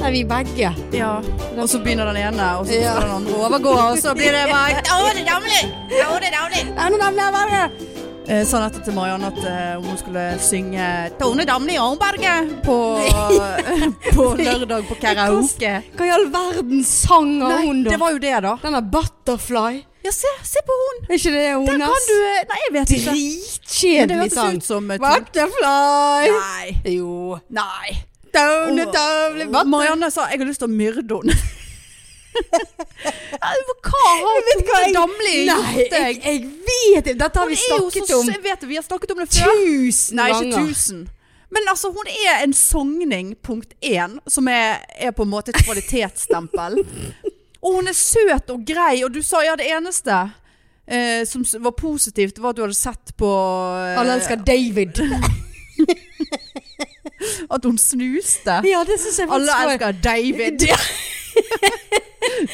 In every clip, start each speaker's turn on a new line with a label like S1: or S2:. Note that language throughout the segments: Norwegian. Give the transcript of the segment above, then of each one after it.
S1: begge.
S2: Ja. Og så begynner den ene, og så
S1: Ja.
S2: skal den andre overgå, og så blir det bare Å, det er dårlig! Å, det er dårlig!
S1: Erne Damli er verre!
S2: Eh, sa dette til Marianne at eh, hun skulle synge Tone Damli Arnberget på, på lørdag på karaoke.
S1: Hva i all verden sang har
S2: Nei,
S1: hun, da?
S2: det var jo det, da.
S1: Den der Butterfly.
S2: Ja, se, se på hun!
S1: Er ikke det
S2: Der kan
S1: hennes?
S2: du eh, Nei, jeg vet ikke. Men det
S1: Dritkjedelig
S2: hørtes
S1: sang.
S2: ut som eh, Tone-
S1: Butterfly!
S2: Nei.
S1: Jo.
S2: Nei.
S1: Downe,
S2: Åh.
S1: downe, butterfly.
S2: Marianne sa 'jeg har lyst til å myrde henne'. Ja, Hva har
S1: vet hva jeg-
S2: Tone Damli
S1: Nei,
S2: gjort eh?
S1: jeg,
S2: deg?
S1: jeg vet ikke. Dette har vi
S2: Hun er jo
S1: snakket
S2: så-
S1: om
S2: Jeg vet det, vi har snakket om det før.
S1: tusen
S2: Nei, ikke
S1: ganger.
S2: tusen. Men altså, hun er en sogning, punkt én, som er, er på en måte et kvalitetsstempel. og hun er søt og grei, og du sa ja, det eneste eh, som s- var positivt, var at du hadde sett på eh,
S1: Alle elsker David.
S2: At hun snuste.
S1: Ja, det syns jeg
S2: Alle
S1: var-
S2: elsker David.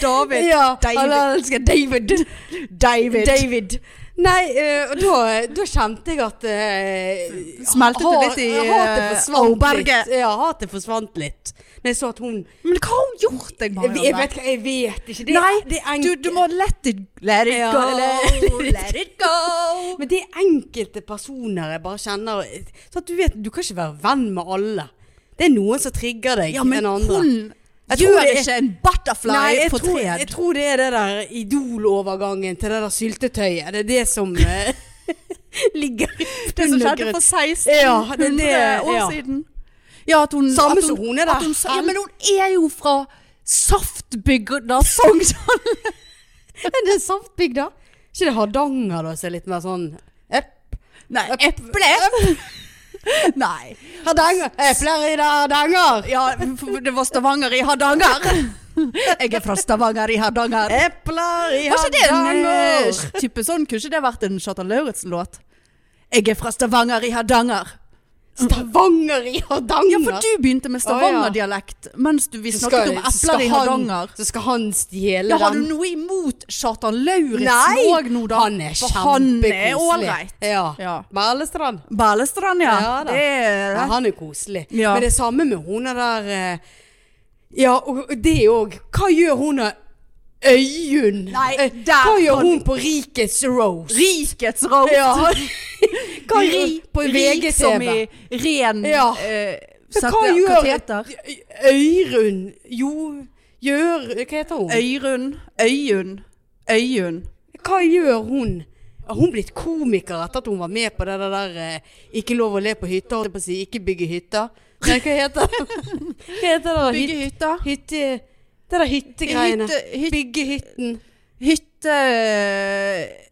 S2: David.
S1: ja,
S2: David.
S1: Alle elsker David.
S2: David.
S1: David. Nei, eh, og da, da kjente jeg at uh,
S2: Smeltet det litt i, eh,
S1: Hatet forsvant
S2: Auberget.
S1: litt. Ja, hatet forsvant litt. Når jeg så at hun
S2: Men hva har hun gjort deg,
S1: jeg,
S2: Marianne?
S1: jeg, vet, ikke- jeg vet ikke. Det,
S2: Nei,
S1: det er
S2: du, du må let it, let it
S1: Ja,
S2: go.
S1: let
S2: it go.
S1: Men det er enkelte personer jeg bare kjenner Så at du vet, du kan ikke være venn med alle Det er noen som trigger deg
S2: Ja, men
S1: den andre
S2: hun
S1: Jeg tror
S2: gjør
S1: det er-
S2: ikke en butterfly
S1: Nei, jeg
S2: på
S1: tror, jeg
S2: tred.
S1: tror det er det der idolovergangen til det der syltetøyet Det er det som eh, ligger
S2: Det som
S1: under
S2: skjedde
S1: grunn.
S2: for 1600
S1: Ja, det er det,
S2: år
S1: ja.
S2: siden. Ja, at hun,
S1: Samme
S2: at
S1: som hun er der.
S2: at hun sa- ja, men hun er jo fra Saftbygda Sogndal.
S1: Men det er saftbygd da Ikke det Hardanger da, som er litt mer sånn Epp,
S2: Nei, eple. Nei.
S1: Hardanger, epler i det Hardanger
S2: Ja, for det var Stavanger i Hardanger. Jeg er fra Stavanger i Hardanger.
S1: Epler i
S2: Var ikke det en
S1: Hardanger
S2: eh, type sånn? Kunne ikke det vært en Kjartan Lauritzen-låt? Jeg er fra Stavanger i Hardanger.
S1: Stavanger i Hardanger
S2: Ja, for du begynte med Stavanger-dialekt mens du, vi
S1: Så
S2: snakket
S1: skal-
S2: om
S1: så skal
S2: epler i
S1: han-
S2: Hardanger.
S1: Så skal han stjele
S2: Ja, har du
S1: dem.
S2: noe imot Kjartan Lauritzen
S1: Nei!
S2: òg nå, da?
S1: Han er
S2: For han er
S1: kjempekoselig.
S2: ålreit.
S1: Ja.
S2: Ja.
S1: Berlestrand.
S2: Balestrand, ja.
S1: Ja da.
S2: det er
S1: Ja, han er koselig.
S2: Ja.
S1: Men det er samme med hun der eh, Ja, og og det òg. Hva gjør hun av Øyunn?
S2: Nei,
S1: Eh,
S2: der
S1: Hva gjør
S2: kan-
S1: hun på Rikets Rose?
S2: Rikets roast.
S1: Ja. Hva gjør
S2: Ri,
S1: på
S2: rik som
S1: VGTV?
S2: i ren
S1: Ja.
S2: eh,
S1: Men
S2: sette
S1: Hva gjør
S2: kateter.
S1: Øy- Øyrun? Jo Gjør Hva heter hun?
S2: Øyrun. Øyunn. Øyunn.
S1: Hva gjør hun? Har hun blitt komiker etter at hun var med på det der eh, Ikke lov å le på hytta, holdt jeg på å si. Ikke bygge hytta. Nei, hva heter det? Hva heter det? der?
S2: Bygge hytta.
S1: Hyt- Hytte... Det der hyttegreiene.
S2: Hytte, hyt-
S1: Bygge hytten.
S2: hytte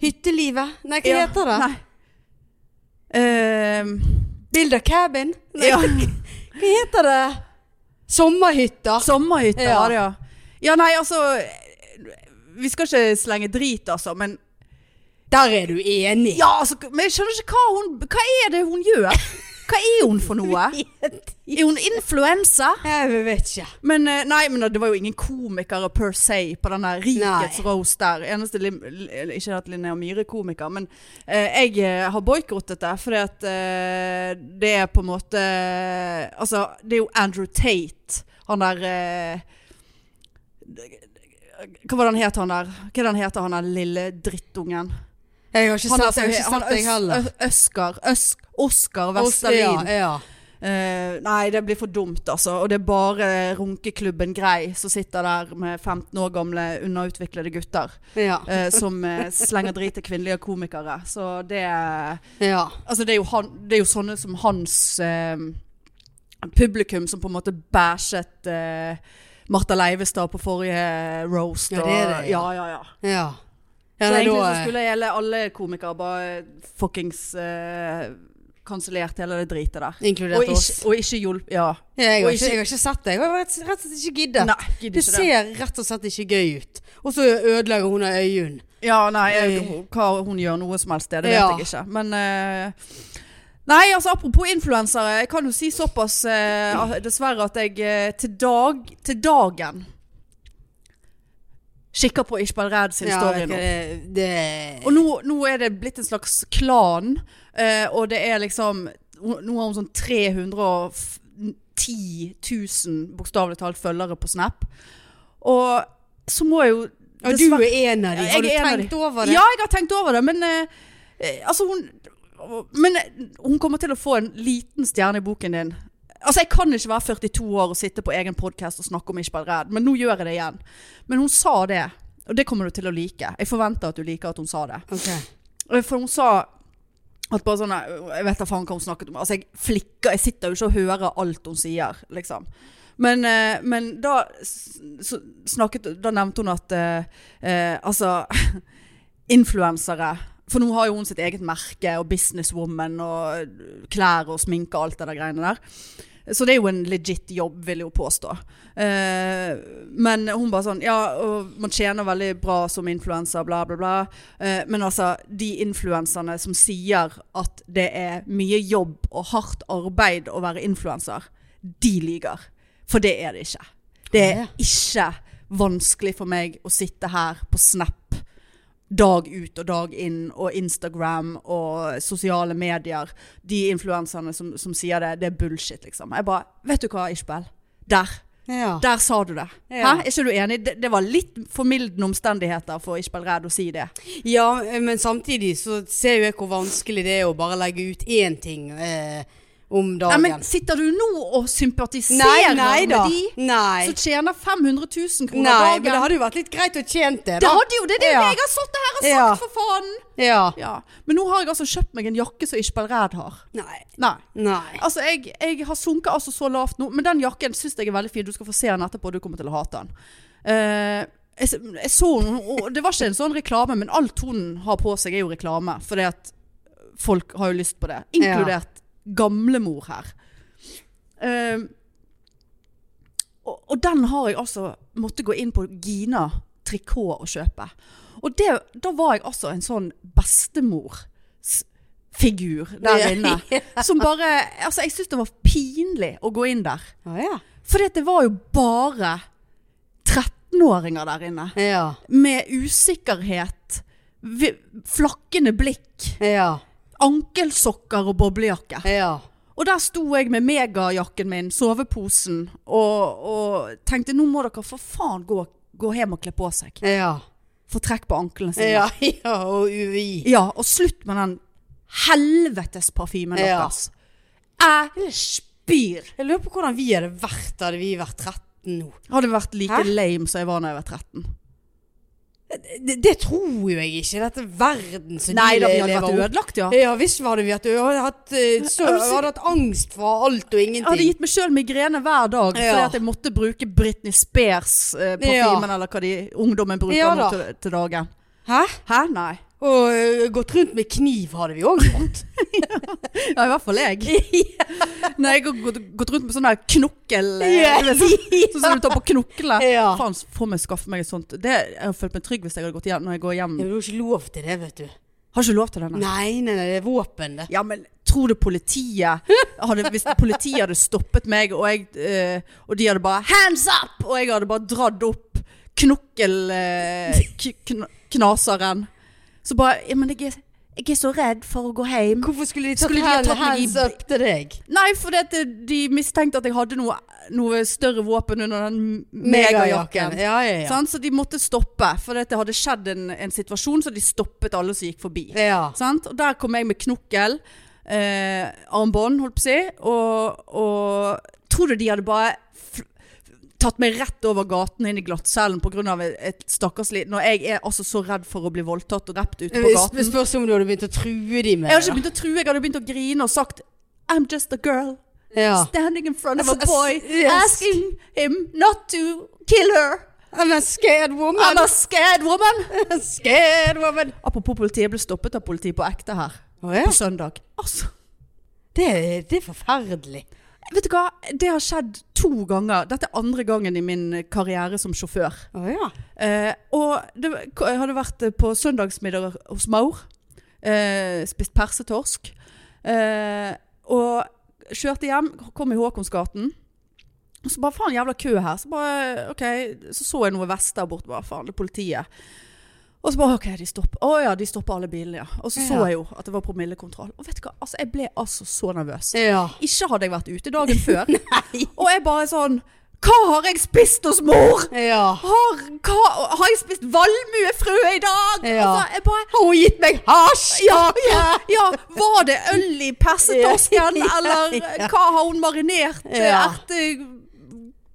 S1: Hyttelivet. Nei, hva
S2: ja,
S1: heter det?
S2: Nei. Ehm,
S1: Build a cabin? Nei,
S2: ja.
S1: hva heter det? Sommerhytta.
S2: Sommerhytta,
S1: Ja.
S2: ja. ja. Ja, nei, altså Vi skal ikke slenge drit, altså, men
S1: Der er du enig.
S2: Ja, altså, men jeg skjønner ikke hva hun Hva er det hun gjør? Hva er hun for noe? Er hun influensa?
S1: Jeg vet ikke.
S2: Men eh, nei, men det var jo ingen komikere per se på den der Rikets
S1: Nei.
S2: roast der. Eneste lim, l- Ikke at Linnea Myhre er komiker, men eh, jeg eh, har boikottet det. Fordi at eh, det er på en måte Altså, det er jo Andrew Tate, han der eh, Hva var det han het, han der? Hva er det han heter, han der lille drittungen?
S1: Jeg har ikke
S2: Han,
S1: sett, jeg har ikke sett deg heller.
S2: Øsker. Øsk,
S1: Ja,
S2: Oskar Vesterlin.
S1: ja.
S2: Eh, nei, det blir for dumt, altså. Og det er bare runkeklubben Grei som sitter der med 15 år gamle underutviklede gutter
S1: Ja.
S2: eh, som eh, slenger drit til kvinnelige komikere. Så det
S1: ja.
S2: Altså, det er jo, han, det er jo sånne som hans eh, publikum som på en måte bæsjet eh, Martha Leivestad på forrige eh, roast.
S1: Ja, det er det,
S2: og-
S1: ja.
S2: Ja, ja, ja.
S1: Ja.
S2: Så
S1: Ja, nei,
S2: egentlig
S1: da, eh,
S2: så skulle det gjelde alle komikere, bare fuckings eh, kansellert hele det dritet der. Og
S1: Inkludert oss.
S2: ikke, og ikke hjulpet Ja.
S1: Ja, jeg, har ikke,
S2: og ikke-
S1: jeg har ikke sett det. Jeg har rett, rett og slett ikke giddet.
S2: Nei, gidder
S1: Det
S2: ikke det.
S1: ser rett og slett ikke gøy ut. Og så ødelegger hun av øyunn.
S2: Ja, nei, jeg, hva hun gjør noe som helst, det, det vet
S1: Ja.
S2: jeg ikke. Men eh, Nei, altså apropos influensere. Jeg kan jo si såpass, eh, at- dessverre, at jeg eh, til, dag, til dagen kikker på Ishbal Red sin
S1: Ja, det-
S2: story nå.
S1: det,
S2: Og nå, nå er det blitt en slags klan, eh, og det er liksom Nå har hun sånn 300 og f- 10 000 bokstavelig talt følgere på Snap. Og så må jeg jo
S1: Og du er en av dem. Har du
S2: Jeg er en av
S1: tenkt
S2: de.
S1: over det?
S2: Ja, jeg har tenkt over det, men eh, eh, altså hun Men eh, hun kommer til å få en liten stjerne i boken din. Altså, jeg kan ikke være 42 år og sitte på egen podkast og snakke om Ishbel Redd, men nå gjør jeg det igjen. Men hun sa det, og det kommer du til å like. Jeg forventer at du liker at hun sa det.
S1: Ok.
S2: Eh, For hun sa at bare sånn eh, Jeg vet da faen hva hun snakket om. Altså, jeg flikker Jeg sitter jo ikke og hører alt hun sier, liksom. Men, eh, men da s- så snakket Da nevnte hun at eh, eh, Altså Influensere. For nå har jo hun sitt eget merke og businesswoman og klær og sminke og alt det der greiene der. Så det er jo en legit jobb, vil jeg jo påstå. Eh, men hun bare sånn Ja, og man tjener veldig bra som influenser, bla, bla, bla. Eh, men altså, de influenserne som sier at det er mye jobb og hardt arbeid å være influenser, de lyver. For det er det ikke. Det er
S1: Ja.
S2: ikke vanskelig for meg å sitte her på Snap dag ut og dag inn, og Instagram og sosiale medier. De influenserne som, som sier det, det er bullshit, liksom. Jeg bare Vet du hva, Ishbel? Der.
S1: Ja.
S2: Der sa du det.
S1: Ja.
S2: Hæ? Er ikke du enig? Det, det var litt formildende omstendigheter for Ishbel Redd å si det.
S1: Ja, men samtidig så ser jo jeg hvor vanskelig det er å bare legge ut én ting eh, om
S2: Nei,
S1: dagen.
S2: men sitter du nå og
S1: nei,
S2: sympatiserer
S1: nei
S2: med
S1: da.
S2: de
S1: Nei.
S2: som tjener 500 000 kroner
S1: nei, men det
S2: dagen?
S1: hadde jo vært litt greit å tjene det. da.
S2: det hadde jo det! Det er jo
S1: Ja.
S2: det jeg har sittet her og sagt,
S1: Ja.
S2: for faen!
S1: Ja.
S2: Ja. Men nå har jeg altså kjøpt meg en jakke som Ishbel Redd har.
S1: Nei.
S2: Nei.
S1: Nei.
S2: Altså, jeg, jeg har sunket altså så lavt nå, men den jakken syns jeg er veldig fin. Du skal få se den etterpå, du kommer til å hate den. Eh, jeg, s- jeg så den, og det var ikke en sånn reklame, men alt hun har på seg er jo reklame. Fordi at folk har jo lyst på det. Inkludert gamlemor her. Eh, og, og den har jeg altså måtte gå inn på Gina Trikot og kjøpe. Og det, da var jeg altså en sånn bestemorsfigur der inne. Som bare Altså, jeg syntes det var pinlig å gå inn der.
S1: Å ja.
S2: For det var jo bare 13-åringer der inne.
S1: Ja.
S2: Med usikkerhet, vi- flakkende blikk,
S1: Ja.
S2: ankelsokker og boblejakke.
S1: Ja.
S2: Og der sto jeg med megajakken min, soveposen, og, og tenkte nå må dere for faen gå, gå hjem og kle på seg.
S1: Ja.
S2: Få trekk på anklene sine.
S1: Ja, ja og UVI.
S2: Ja, og slutt med den helvetes parfymen
S1: Ja.
S2: deres. Jeg spyr.
S1: Jeg lurer på hvordan vi hadde vært hadde vi vært 13 nå.
S2: Hadde vært
S1: Hæ?
S2: like lame som jeg var da jeg var 13.
S1: Det, det tror jo jeg ikke. Dette er verden som
S2: Nei da,
S1: de
S2: vi hadde vært
S1: lever opp.
S2: ødelagt, ja.
S1: Ja visst hadde vi hatt, hadde hatt, eh, så,
S2: Ja, men så-
S1: hadde hatt angst for alt og
S2: Jeg hadde
S1: ingenting.
S2: gitt meg sjøl migrene hver dag fordi
S1: Ja.
S2: at jeg måtte bruke Britney Spears-parfymen, eller hva de ungdommen bruker
S1: Ja
S2: nå
S1: da.
S2: til, til dagen.
S1: Hæ?
S2: Hæ? Nei.
S1: Og ø, gått rundt med kniv hadde vi òg gjort.
S2: Ja, i hvert fall jeg. Nei, jeg har gått, gått rundt med sånn der knokkel... eh,
S1: Ja.
S2: du vet, Sånn sånn som du tar på knoklene.
S1: Ja.
S2: Faen, få meg skaffe meg et sånt. Det, jeg har følt meg trygg hvis jeg hadde gått hjem når jeg går hjem.
S1: Ja, men Du har ikke lov til det, vet du.
S2: Har ikke lov til det, nei.
S1: Nei, nei, nei det er våpen, det.
S2: Ja, men tror du politiet hadde, Hvis politiet hadde stoppet meg, og, jeg, eh, og de hadde bare 'hands up!' og jeg hadde bare dratt opp eh, knokkelknaseren, så bare Ja, men jeg er, jeg er så redd for å gå hjem.
S1: Hvorfor skulle de tatt,
S2: Skulle de ha
S1: hand-
S2: tatt meg i-
S1: hands up til deg?
S2: Nei, for det, de mistenkte at jeg hadde noe, noe større våpen under den megajakken.
S1: Ja, ja, ja.
S2: Sant? Så de måtte stoppe, for det hadde skjedd en, en situasjon, så de stoppet alle som gikk forbi.
S1: ja.
S2: Sant? Og der kom jeg med knokkel, eh, armbånd, holdt på å si, og, og tror du de hadde bare f- tatt meg rett over gaten inn i glattcellen på grunn av et, et stakkarslig Når jeg er altså så redd for å bli voldtatt og drept ute på
S1: Sp-
S2: gaten.
S1: Spørs om du hadde begynt å true de med
S2: Jeg hadde ikke begynt å true, jeg hadde begynt å grine og sagt I'm just a girl
S1: Ja.
S2: standing in front of a
S1: Ass- ass-
S2: boy
S1: yes.
S2: asking him not to kill her.
S1: I'm a scared woman.
S2: I'm a scared woman.
S1: I'm a scared woman.
S2: Apropos politiet, jeg ble stoppet av politiet på ekte her
S1: Å, ja.
S2: på søndag. Altså.
S1: det, det er forferdelig.
S2: Vet du hva, det har skjedd to ganger. Dette er andre gangen i min karriere som sjåfør.
S1: Å ja.
S2: Eh, og det, jeg hadde vært eh, på søndagsmiddag hos Maur. Eh, spist persetorsk. Eh, og kjørte hjem, kom i Håkonsgaten. Og så bare faen jævla kø her. Så bare, ok, så, så jeg noe vester borte. Bare faen, det er politiet. Og så bare OK, de stopper. Å ja, de stopper alle bilene, ja. Og så så
S1: Ja.
S2: jeg jo at det var promillekontroll. Og vet du hva, altså jeg ble altså så nervøs.
S1: Ja.
S2: Ikke hadde jeg vært ute dagen før. Og jeg bare sånn Hva har jeg spist hos mor?!
S1: ja.
S2: Har, hva, har jeg spist valmuefrø i dag?!
S1: Ja.
S2: Altså, jeg bare
S1: Har hun gitt meg hasj?
S2: ja, ja, ja, var det øl i persetorsken,
S1: Ja,
S2: eller
S1: ja.
S2: hva har hun marinert? eh,
S1: Ja.
S2: Erte...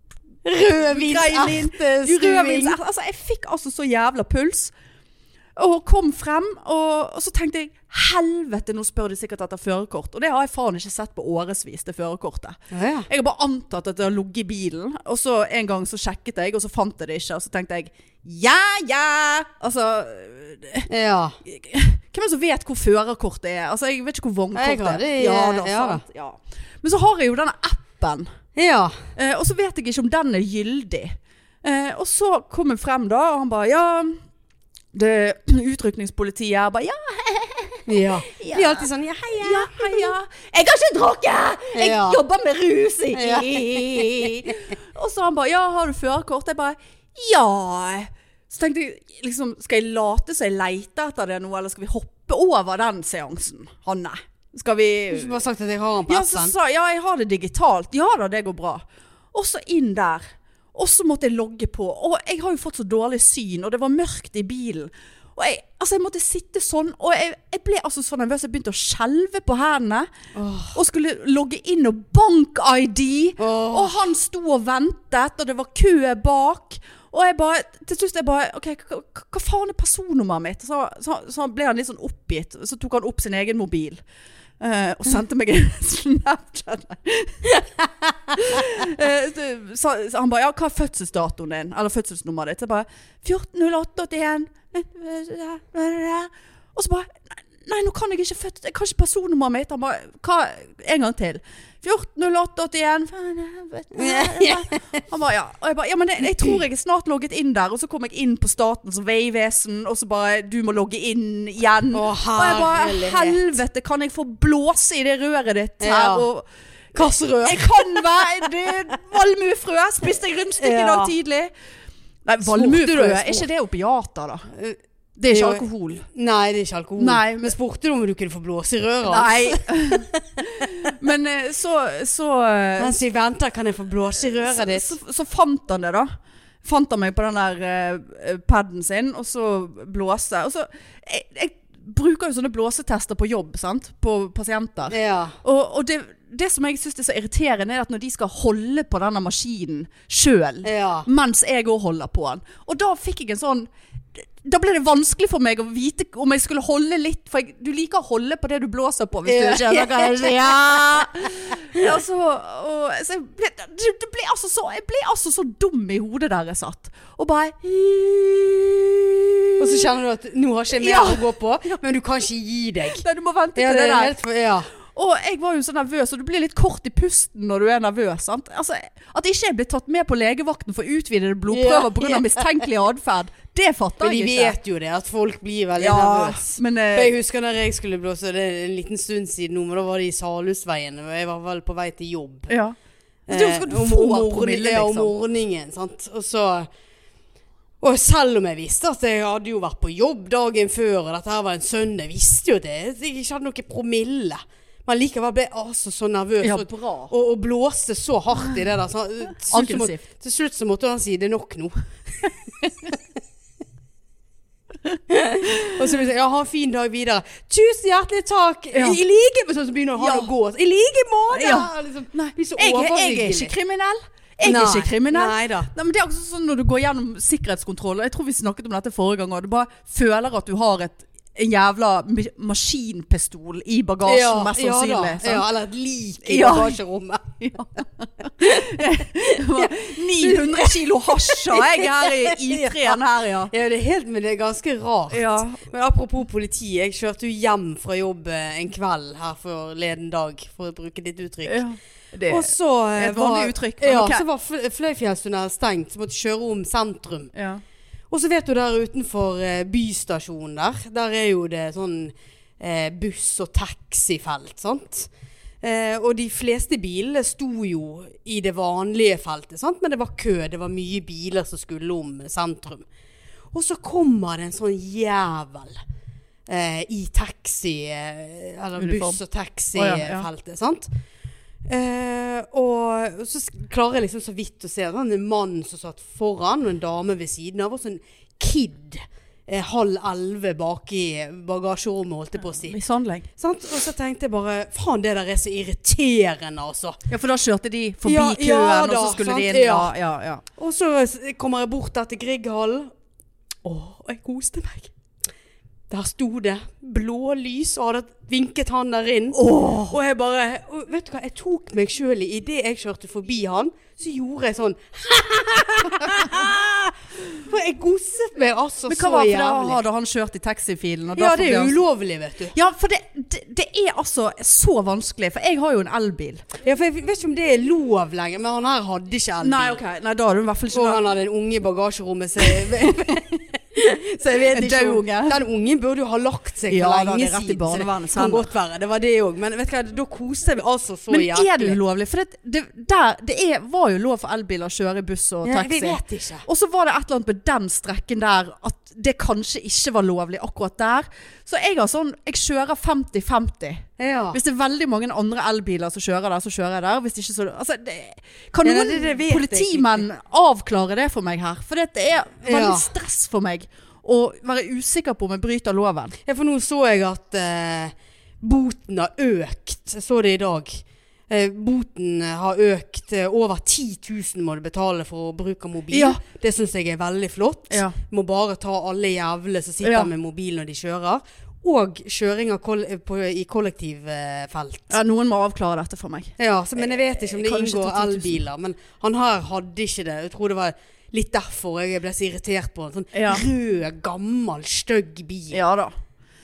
S1: Ah.
S2: Greilin,
S1: Rødvinsertestuing.
S2: Rødvinsert. Altså, jeg fikk altså så jævla puls. Og kom frem, og, og så tenkte jeg Helvete, nå spør de sikkert etter førerkort. Og det har jeg faen ikke sett på årevis, det førerkortet.
S1: Ja.
S2: Jeg har bare antatt at det har ligget i bilen, og så en gang så sjekket jeg, og så fant jeg det ikke. Og så tenkte jeg ja, ja! Altså,
S1: ja.
S2: hvem er det som vet hvor førerkortet er? Altså, jeg vet ikke hvor
S1: Jeg
S2: vognkortet
S1: har
S2: er.
S1: det i-
S2: Ja, da,
S1: ja da.
S2: sant. Ja. Men så har jeg jo denne appen.
S1: Ja.
S2: Eh, og så vet jeg ikke om den er gyldig. Eh, og så kom jeg frem da, og han bare ja det utrykningspolitiet her bare ja,
S1: ja.
S2: Ja.
S1: De er alltid sånn ja, hei, ja.
S2: ja, hei, ja. Jeg har ikke drukket! Jeg
S1: Ja.
S2: jobber med rus! i-
S1: Ja.
S2: og så han bare ja, har du førerkort? Jeg bare ja. Så tenkte jeg liksom, skal jeg late som jeg leter etter det nå, eller skal vi hoppe over den seansen, Hanne? Skal vi
S1: Du har ikke bare sagt at jeg har han på
S2: Ja, så
S1: appen.
S2: sa jeg, ja, jeg har det digitalt. Ja da, det går bra. Og så inn der. Og så måtte jeg logge på. Og jeg har jo fått så dårlig syn, og det var mørkt i bilen. Og jeg, altså jeg måtte sitte sånn, og jeg, jeg ble altså så nervøs. Jeg begynte å skjelve på hendene. Og skulle logge inn og bank-ID.
S1: Åh.
S2: Og han sto og ventet, og det var kø bak. Og jeg bare, til slutt jeg bare OK, hva, hva- hva faen er personnummeret mitt? Så, så, så ble han litt sånn oppgitt. Så tok han opp sin egen mobil. eh, og sendte meg en Snapchat. Eh, så- så, så han bare Ja, hva er fødselsdatoen din? Eller fødselsnummeret ditt? Så jeg bare 14.08.81 eh, Og så bare nei, Nei, nå kan jeg ikke født Jeg kan ikke personnummeret mitt. Han bare Hva En gang til. 14.08.81 Han bare ja. Og jeg bare Ja, men jeg, jeg tror jeg er snart logget inn der. Og så kom jeg inn på Statens vegvesen, og så bare Du må logge inn igjen.
S1: Å,
S2: og jeg bare
S1: herlighet.
S2: Helvete, kan jeg få blåse i det røret ditt her?
S1: Ja.
S2: Og
S1: Kasserød.
S2: jeg kan være det- valmuefrø. Spiste jeg rundstykke i dag
S1: Ja.
S2: tidlig? Nei,
S1: Spurte
S2: valmuefrø
S1: du-
S2: er ikke det opiater, da?
S1: Eh,
S2: Det er ikke
S1: jo.
S2: alkohol.
S1: Nei, det er ikke alkohol.
S2: Nei, men-
S1: men spurte du om du kunne få blåse i røret?
S2: Nei. Men eh, så så, eh,
S1: Mens vi venter, kan jeg få blåse i røret ditt?
S2: så så fant han det, da. Fant han meg på den der uh, paden sin, og så blåse. Og så jeg, jeg bruker jo sånne blåsetester på jobb, sant? På pasienter.
S1: Ja.
S2: Og, og det, det som jeg syns er så irriterende, er at når de skal holde på denne maskinen sjøl
S1: Ja.
S2: mens jeg òg holder på den. Og da fikk jeg en sånn Da ble det vanskelig for meg å vite om jeg skulle holde litt, for jeg, du liker å holde på det du blåser på, hvis du skjønner hva jeg sier. Ja. Altså, og, så jeg ble, det, det ble altså så, jeg ble altså så dum i hodet der jeg satt. Og bare
S1: Og så kjenner du at nå har ikke jeg mer
S2: Ja.
S1: å gå på, men du kan ikke gi deg.
S2: Nei, du må vente til
S1: Ja,
S2: det,
S1: det er
S2: der.
S1: helt for, ja.
S2: Og jeg var jo så nervøs, og du blir litt kort i pusten når du er nervøs. Sant? Altså, at ikke jeg ble tatt med på legevakten for utvidede blodprøver
S1: Ja,
S2: pga. av mistenkelig atferd, det
S1: Men
S2: fatter
S1: de
S2: jeg ikke.
S1: vet jo det, at folk blir veldig
S2: Ja,
S1: nervøse.
S2: men, eh,
S1: For jeg husker når jeg skulle blåse, det er en liten stund siden nå, men da var det i Salhusveien, og jeg var vel på vei til jobb.
S2: Ja. Så du
S1: Eh,
S2: skal du
S1: om-
S2: få
S1: om morgen-
S2: promille,
S1: Ja, om
S2: liksom.
S1: morgenen, sant. Og så Og selv om jeg visste at jeg hadde jo vært på jobb dagen før, og dette her var en søndag, jeg visste jo det, jeg ikke hadde noe promille. Men likevel ble jeg altså så nervøs.
S2: Ja,
S1: og-
S2: bra.
S1: Og, og blåste så hardt i det der. Så, til, slutt så måtte,
S2: Aggressivt.
S1: til slutt så måtte han si 'det er nok nå'. og så blir det sånn 'ja, ha en fin dag videre'. Tusen hjertelig takk!
S2: Ja.
S1: I like måte! Så begynner han
S2: Ja.
S1: å gå. I like måte!
S2: Ja.
S1: Liksom,
S2: Nei,
S1: blir så
S2: jeg, jeg er
S1: overhyggelig.
S2: ikke kriminell. Jeg er
S1: Nei,
S2: ikke kriminell.
S1: Nei da.
S2: Nei, men det er også sånn når du går gjennom sikkerhetskontroll, og jeg tror vi snakket om dette forrige gang, og du bare føler at du har et en jævla mi- maskinpistol i bagasjen, mest
S1: ja
S2: sannsynlig.
S1: da. Ja, eller et lik i
S2: Ja.
S1: bagasjerommet.
S2: sant? 900 kilo hasj har jeg her i I3-en her, ja.
S1: Ja, det er helt, men det er ganske rart.
S2: Ja.
S1: Men apropos politi, jeg kjørte jo hjem fra jobb eh, en kveld her forleden dag, for å bruke ditt uttrykk.
S2: Det,
S1: Og så eh,
S2: et vanlig
S1: var-
S2: uttrykk, men
S1: Ja,
S2: ok.
S1: så var Fl- Fløyfjellstunnel stengt, så måtte jeg kjøre om sentrum.
S2: ja.
S1: Og så vet du der utenfor eh, bystasjonen der, der er jo det sånn eh, buss- og taxifelt, sant? Eh, og de fleste bilene sto jo i det vanlige feltet, sant? Men det var kø, det var mye biler som skulle om sentrum. Og så kommer det en sånn jævel eh, i taxi, eh, eller
S2: Uniform.
S1: buss- og
S2: Å, ja, ja.
S1: taxifeltet, sant? Eh, og så s- klarer jeg liksom så vidt å se sånn, en mann som satt foran, og en dame ved siden av, og så en kid. eh, Halv elleve baki bagasjerommet, holdt jeg på å si.
S2: Mishandling.
S1: Sant? Og så tenkte jeg bare Faen, det der er så irriterende, altså.
S2: Ja, for da kjørte de forbi
S1: Ja,
S2: køen,
S1: ja
S2: og så
S1: da,
S2: skulle
S1: sant,
S2: de inn. Ja,
S1: ja.
S2: ja, ja.
S1: Og så s- kommer jeg bort der til Grieghallen. Å, jeg koste meg. Der sto det blå lys og hadde vinket han der inn. Og jeg bare og Vet du hva, jeg tok meg sjøl i idet jeg kjørte forbi han, så gjorde jeg sånn For jeg gosset meg altså
S2: Men
S1: så
S2: hva var det da?
S1: jævlig.
S2: Hadde han kjørt i taxifilen? og
S1: Ja,
S2: derfor
S1: det
S2: ble
S1: er
S2: han-
S1: ulovlig, vet du.
S2: Ja, for det, det, det er altså så vanskelig. For jeg har jo en elbil.
S1: Ja, for Jeg vet ikke om det er lov lenger, men han her hadde ikke elbil.
S2: Nei, ok. Nei, da har du i hvert fall
S1: Og
S2: ikke
S1: han hadde en unge i bagasjerommet, så jeg, så jeg vet
S2: En
S1: ikke
S2: død
S1: om-
S2: unge.
S1: Den ungen burde jo ha lagt seg
S2: Ja,
S1: for
S2: da,
S1: lenge
S2: det er rett i
S1: siden. så det
S2: barnevernets
S1: kan
S2: hender.
S1: godt være. Det var det òg. Men vet du hva, da koser vi altså så
S2: Men er det
S1: jævlig.
S2: ulovlig? For det, det, der, det er, var jo lov for elbiler å kjøre i buss og
S1: Ja, vi
S2: taxi.
S1: vet ikke.
S2: og så var det et eller annet på den strekken der at det kanskje ikke var lovlig akkurat der. Så jeg har sånn Jeg kjører 50-50.
S1: Ja.
S2: Hvis det er veldig mange andre elbiler som kjører der, så kjører jeg der. Hvis ikke så altså, det, Kan
S1: Ja, nei,
S2: noen
S1: det- det vet jeg
S2: politimenn avklare det for meg her? For det er
S1: Ja.
S2: veldig stress for meg å være usikker på om jeg bryter loven.
S1: ja, for nå så jeg at eh, boten har økt. Jeg så det i dag. Eh, boten har økt. eh, Over 10 000 må du betale for å bruke mobil.
S2: Ja.
S1: Det syns jeg er veldig flott.
S2: Ja.
S1: Må bare ta alle jævle som sitter
S2: Ja.
S1: med mobil når de kjører. Og kjøring av koll på, i kollektivfelt.
S2: Ja, noen må avklare dette for meg.
S1: Ja, så, men jeg vet ikke om det
S2: Eh, Kanskje
S1: inngår
S2: 10 000.
S1: elbiler. Men han her hadde ikke det. Jeg tror det var litt derfor jeg ble så irritert på han. Sånn
S2: Ja.
S1: rød, gammel, stygg bil.
S2: Ja da.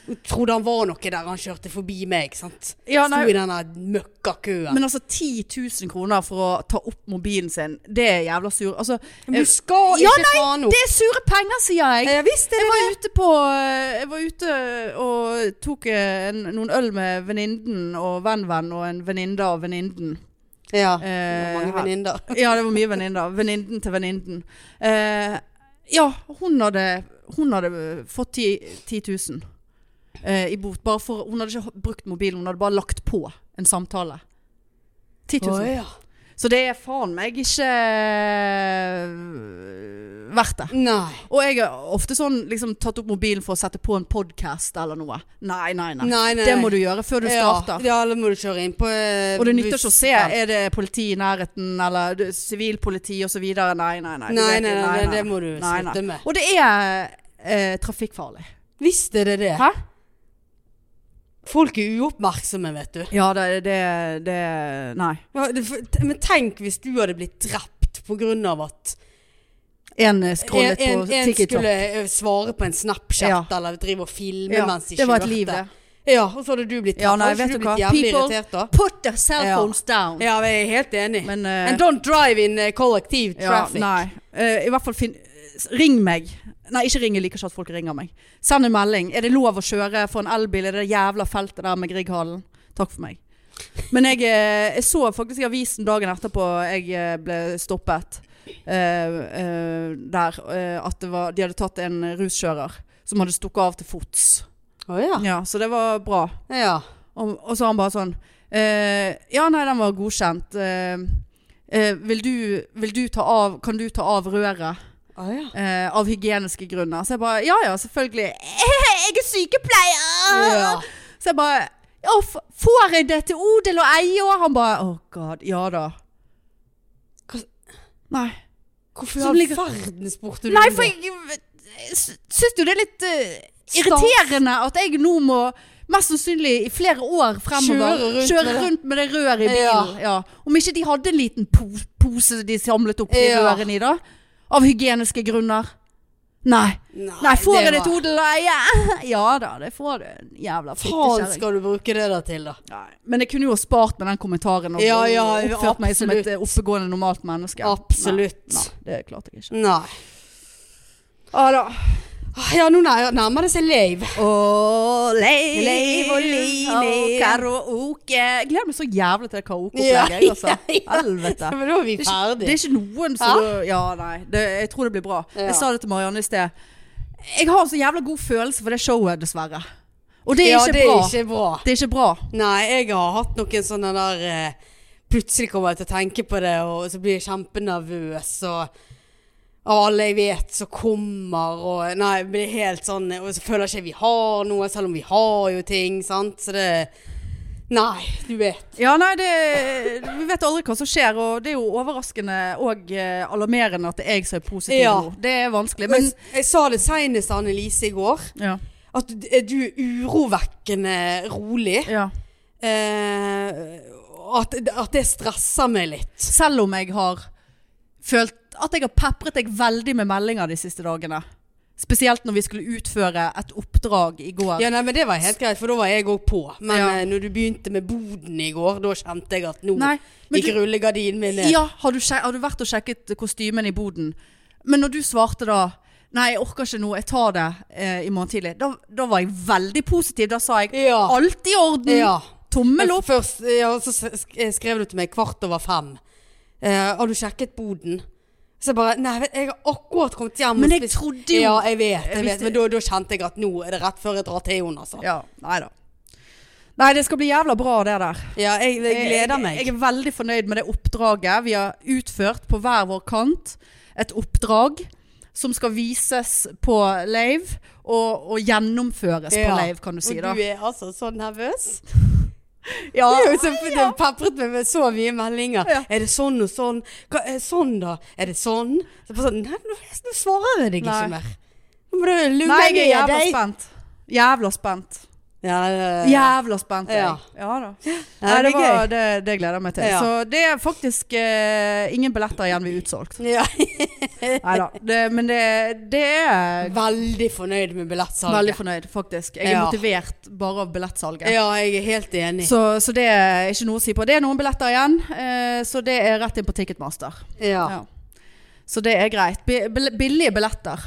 S1: Jeg trodde han var noe der han kjørte forbi meg. sant?
S2: Ja, nei.
S1: Sto i denne møkkakøen.
S2: Men altså 10 000 kroner for å ta opp mobilen sin, det er jævla sur. Altså,
S1: Men du
S2: eh,
S1: skal ikke
S2: ja,
S1: faen opp!
S2: det er sure penger, sier jeg!
S1: Ja visst er det det.
S2: Jeg var ute, på, eh, jeg var ute og tok eh, en, noen øl med venninnen og venn-venn og en venninne av venninnen.
S1: Ja.
S2: Eh,
S1: Mange
S2: her.
S1: venninner.
S2: Ja, det var mye venninner. Venninnen til venninnen. Eh, ja, hun hadde, hun hadde fått 10 10 000 eh, i bot. Bare for, hun hadde ikke brukt mobilen, hun hadde bare lagt på en samtale. 10 000.
S1: Å, ja.
S2: Så det er faen meg ikke eh, verdt det.
S1: Nei.
S2: Og jeg har ofte sånn liksom tatt opp mobilen for å sette på en podkast eller noe. Nei, nei, nei.
S1: Nei, nei,
S2: Det
S1: nei.
S2: må du gjøre før du starter.
S1: Ja, ja, eller må du kjøre inn på eh,
S2: Og det nytter ikke å se
S1: bussfelt.
S2: er det politi i nærheten eller det- sivilpoliti osv. Nei, nei, nei. Du
S1: Nei,
S2: vet
S1: nei,
S2: jo,
S1: nei, det- det må du
S2: Nei, nei.
S1: slutte med.
S2: Og det er eh, trafikkfarlig.
S1: Visst er det det.
S2: Hæ?
S1: Folk er uoppmerksomme, vet du.
S2: Ja, det, det, det Nei.
S1: Ja, det- for- t- Men tenk hvis du hadde blitt drept på grunn av at
S2: En eh, scrollet
S1: en,
S2: på
S1: en, en
S2: TikTok.
S1: skulle eh, svare på en Snapchat
S2: Ja.
S1: eller drive og filme
S2: Ja,
S1: mens de
S2: det var et
S1: kjørte.
S2: liv, det.
S1: Ja, og så hadde du blitt
S2: Ja, nei,
S1: Hadde
S2: vet
S1: ikke
S2: du
S1: blitt
S2: hva?
S1: jævlig
S2: People-
S1: irritert da?
S2: Put their cell
S1: Ja.
S2: phones down.
S1: Ja, jeg er helt enig.
S2: Men eh,
S1: And don't drive in eh, collective
S2: ja,
S1: traffic.
S2: Nei. Eh, I hvert fall finn Ring meg. Nei, ikke ring. Jeg liker ikke at folk ringer meg. Send en melding. Er det lov å kjøre for en elbil i det jævla feltet der med Grieghallen? Takk for meg. Men jeg, eh, jeg så faktisk i avisen dagen etterpå jeg eh, ble stoppet eh, eh, der, eh, at det var, de hadde tatt en ruskjører som hadde stukket av til fots.
S1: Å ja.
S2: Ja, så det var bra.
S1: ja.
S2: Og, og så han bare sånn eh, Ja, nei, den var godkjent. Eh, eh, vil, du, vil du ta av Kan du ta av røret?
S1: Å ja.
S2: Eh, av hygieniske grunner. Så jeg bare Ja ja, selvfølgelig. Jeg er sykepleier!
S1: ja.
S2: Så jeg bare ja, f- Får jeg det til odel og eie? Og han bare Å, god. Ja da.
S1: Hva-
S2: Nei.
S1: Hvorfor i
S2: Som
S1: all
S2: ligger-
S1: verden spurte du
S2: Nei,
S1: om
S2: for
S1: det?
S2: jeg, jeg sy- syns jo det er litt eh,
S1: Stas.
S2: irriterende at jeg nå må Mest sannsynlig i flere år
S1: Kjøre
S2: fremover
S1: rundt
S2: kjøre
S1: med det.
S2: rundt med det røret i bilen. Ja. Om ikke de hadde en liten po pose de samlet opp de
S1: Ja.
S2: rørene i, da. Av hygieniske grunner. Nei.
S1: Nei,
S2: Nei, får jeg det
S1: var-
S2: til odel og eie? Ja da, det får du. En Jævla
S1: Faen
S2: fittekjerring.
S1: skal du bruke det der til, da.
S2: Nei, Men jeg kunne jo ha spart med den kommentaren og
S1: Ja, ja,
S2: og oppført meg som et
S1: absolutt.
S2: eh, oppegående, normalt menneske.
S1: Absolutt.
S2: Nei, nei, det klarte jeg ikke.
S1: Nei.
S2: Ja da.
S1: Ja, nå nær- nærmer det seg lave.
S2: Og leiv
S1: Leiv og
S2: og
S1: liv.
S2: liv. Karaoke. Jeg gleder meg så jævlig til det
S1: Ja,
S2: karaokeopplegget. jeg, altså.
S1: ja, ja.
S2: Helvete.
S1: Men da er vi
S2: Det er, ikke,
S1: ferdig.
S2: det er ikke noen som Ja, nei. Det, jeg tror det blir bra.
S1: Ja.
S2: Jeg sa det til Marianne i sted. Jeg har så jævla god følelse for det showet, dessverre. Og det er
S1: ja,
S2: ikke
S1: det
S2: bra.
S1: er ikke bra.
S2: Det er ikke bra.
S1: Nei, jeg har hatt noen sånne der eh, Plutselig kommer jeg til å tenke på det, og så blir jeg kjempenervøs. Og av alle jeg vet som kommer, og Nei, jeg blir helt sånn Og så føler jeg ikke vi har noe, selv om vi har jo ting, sant. Så det Nei, du vet.
S2: Ja, nei, det, vi vet aldri hva som skjer, og det er jo overraskende og eh, alarmerende at det er jeg som er positiv
S1: Ja.
S2: nå. Det er
S1: Men
S2: vanskelig, men
S1: jeg, jeg sa det seinest til Annelise i går,
S2: ja,
S1: at du er du urovekkende rolig.
S2: ja.
S1: Eh, at, at det stresser meg litt.
S2: Selv om jeg har følt at jeg har pepret deg veldig med meldinger de siste dagene. Spesielt når vi skulle utføre et oppdrag i går.
S1: Ja, nei, men Det var helt greit, for da var jeg òg på. Men
S2: Ja.
S1: eh, når du begynte med boden i går, da kjente jeg at nå
S2: Nei, men
S1: gikk
S2: du-
S1: rullegardinen min ned.
S2: Ja, har du, sjek- har du vært og sjekket kostymen i boden? Men når du svarte da Nei, jeg orker ikke nå, jeg tar det eh, i morgen tidlig. Da, da var jeg veldig positiv. Da sa jeg
S1: Ja.
S2: alt i orden.
S1: Ja.
S2: Tommel
S1: Men
S2: opp.
S1: først ja, så s- sk- eh, skrev du til meg kvart over fem. Eh, har du sjekket boden? Så jeg bare Nei, vet, jeg har akkurat kommet hjem. og
S2: Men jeg
S1: spist-
S2: trodde jo-
S1: Ja, jeg vet.
S2: Jeg
S1: Jeg vet
S2: visste-
S1: men da, da kjente jeg at nå er det rett før jeg drar til henne, altså. Ja,
S2: Ja, nei da. Nei, det skal bli jævla bra det der.
S1: jeg, jeg gleder meg.
S2: Jeg, jeg er veldig fornøyd med det oppdraget vi har utført på hver vår kant. Et oppdrag som skal vises på lave, og, og gjennomføres på lave, kan du si. da.
S1: Og du er altså så nervøs.
S2: Ja,
S1: Det er jo så det er pepret meg med så mye meldinger.
S2: Ja.
S1: Er det sånn og sånn? Hva er sånn da? Er det sånn? Så bare sånn, nei, nå, nå svarer jeg deg
S2: Nei.
S1: ikke mer. Nå må du lure
S2: Nei, jeg
S1: ned
S2: er jævla
S1: deg.
S2: spent. Jævla spent.
S1: Ja, det-
S2: Jævla spent er jeg.
S1: Ja.
S2: Ja da.
S1: Nei,
S2: Nei,
S1: det
S2: det,
S1: er
S2: var, det, det gleder jeg meg til.
S1: Ja.
S2: Så det er faktisk eh, ingen billetter igjen vi er utsolgt.
S1: ja.
S2: Nei da. Det, men det, det er
S1: Veldig fornøyd med billettsalget.
S2: Veldig fornøyd, faktisk. Jeg er
S1: Ja.
S2: motivert bare av billettsalget.
S1: Ja, jeg er helt enig.
S2: Så, så det er ikke noe å si på. Det er noen billetter igjen, eh, så det er rett inn på Ticketmaster.
S1: Ja.
S2: Ja. Så det er greit. Bi- bill- Billige billetter.